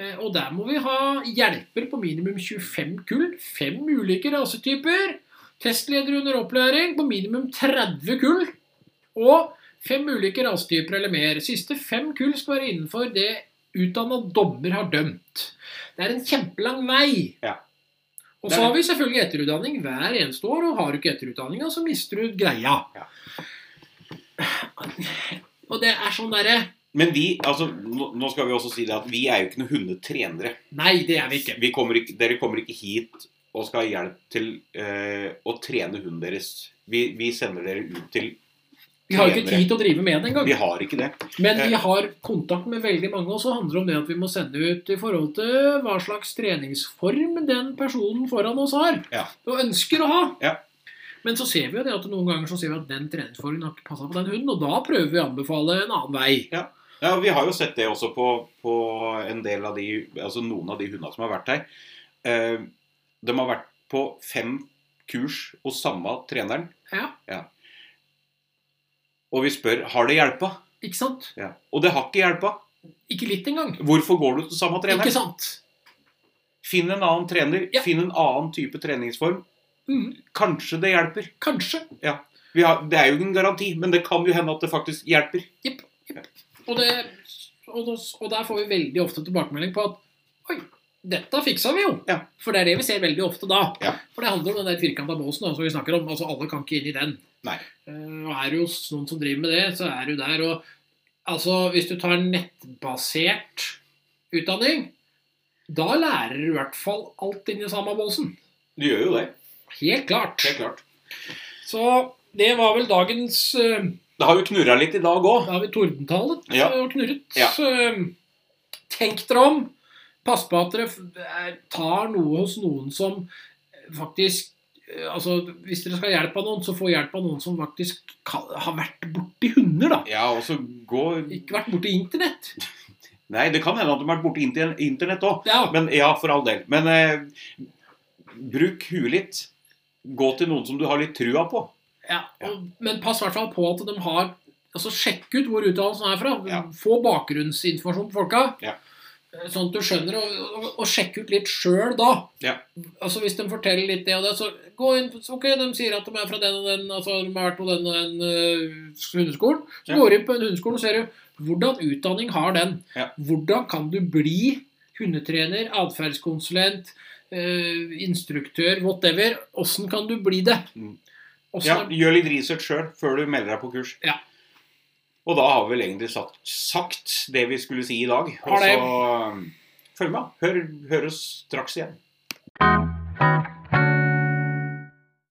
Eh, Og der må vi ha hjelper på minimum 25 kull, fem ulike rasetyper. Testleder under opplæring på minimum 30 kull. Og fem ulike rasetyper eller mer. Siste fem kull skal være innenfor det utdanna dommer har dømt. Det er en kjempelang vei.
Ja.
Og
Det
så
er
har vi selvfølgelig etterutdanning hver eneste år, og har du ikke etterutdanninga, så mister du greia.
Ja.
Og det er sånn derre
Men vi, altså, nå nå skal vi også si det at vi er jo ikke noen hundetrenere.
Nei, det er vi ikke.
Vi kommer ikke, dere kommer ikke hit og skal ha hjelp til eh, å trene hunden deres. Vi, vi sender dere ut til
Vi har jo ikke
trenere.
tid til å drive med det engang.
Vi har ikke det.
Men
Eh.
vi har kontakt med veldig mange, og så handler det om det at vi må sende ut i forhold til hva slags treningsform den personen foran oss har,
Ja.
og ønsker å ha.
Ja.
Men så ser vi jo det at noen ganger så ser vi at den treningsformen har ikke passa på den hunden, og da prøver vi å anbefale en annen vei.
Ja, Vi har jo sett det også på, på en del av de, altså noen av de hundene som har vært her. Eh, de har vært på fem kurs hos samme treneren,
Ja,
og vi spør har det hjelpa.
ikke sant?
Og det har ikke hjelpa.
Ikke litt engang.
Hvorfor går du til samme trener?
Ikke sant?
Finn en annen trener,
Ja.
finn en annen type treningsform. Mm.
Mhm,
Kanskje det hjelper.
kanskje.
Vi har, det er jo ingen garanti, men det kan jo hende at det faktisk hjelper.
Og, det, og, da- og der får vi veldig ofte tilbakemelding på at Oi, dette fiksa vi jo!
Ja.
For det er det vi ser veldig ofte da.
Ja.
For det handler om den der firkanta båsen da, som vi snakker om. Altså, alle kan ikke inn i den.
Nei.
Eh, og er du hos noen som driver med det, så er du der. Og altså, hvis du tar nettbasert utdanning, da lærer du i hvert fall alt inn i samme båsen.
Du gjør jo det.
Helt klart.
Helt klart.
Så det var vel dagens eh,
Det har jo knurra litt i dag òg.
Da har vi tordentalet
Ja.
og knurret.
Ja.
Så, um, tenk dere om. Pass på at dere f- er- tar noe hos noen som eh, faktisk eh, Altså, Hvis dere skal ha hjelp av noen, så få hjelp av noen som faktisk kan, har vært borti hunder. da.
Ja, og så gå
Ikke vært borti internett.
Nei, det kan hende at de har vært borti inter- internett òg.
Ja,
Men ja, for all del. Men eh, bruk huet litt. Gå til noen som du har litt trua på.
ja. Og, Men pass i hvert fall på at de har altså Sjekk ut hvor utdannelsen er fra.
Ja.
Få bakgrunnsinformasjon på folka.
Ja.
Eh, Sånn at du skjønner, og, og, og sjekke ut litt sjøl da.
Ja.
Altså Hvis de forteller litt det og det, så gå inn Ok, de sier at de er fra den og den, altså de har vært på den og den eh, hundeskolen. Så
Ja.
går du inn på en hundeskole og ser jo hvordan utdanning har den.
Ja.
Hvordan kan du bli hundetrener, atferdskonsulent, eh, instruktør, whatever? Åssen kan du bli det?
Mm.
Hvordan-
Ja, gjør litt research sjøl før du melder deg på kurs.
Ja.
Og da har vi vel egentlig sagt, sagt det vi skulle si i dag.
Har
Og
det.
så um, følg med. Hør, hør oss straks igjen.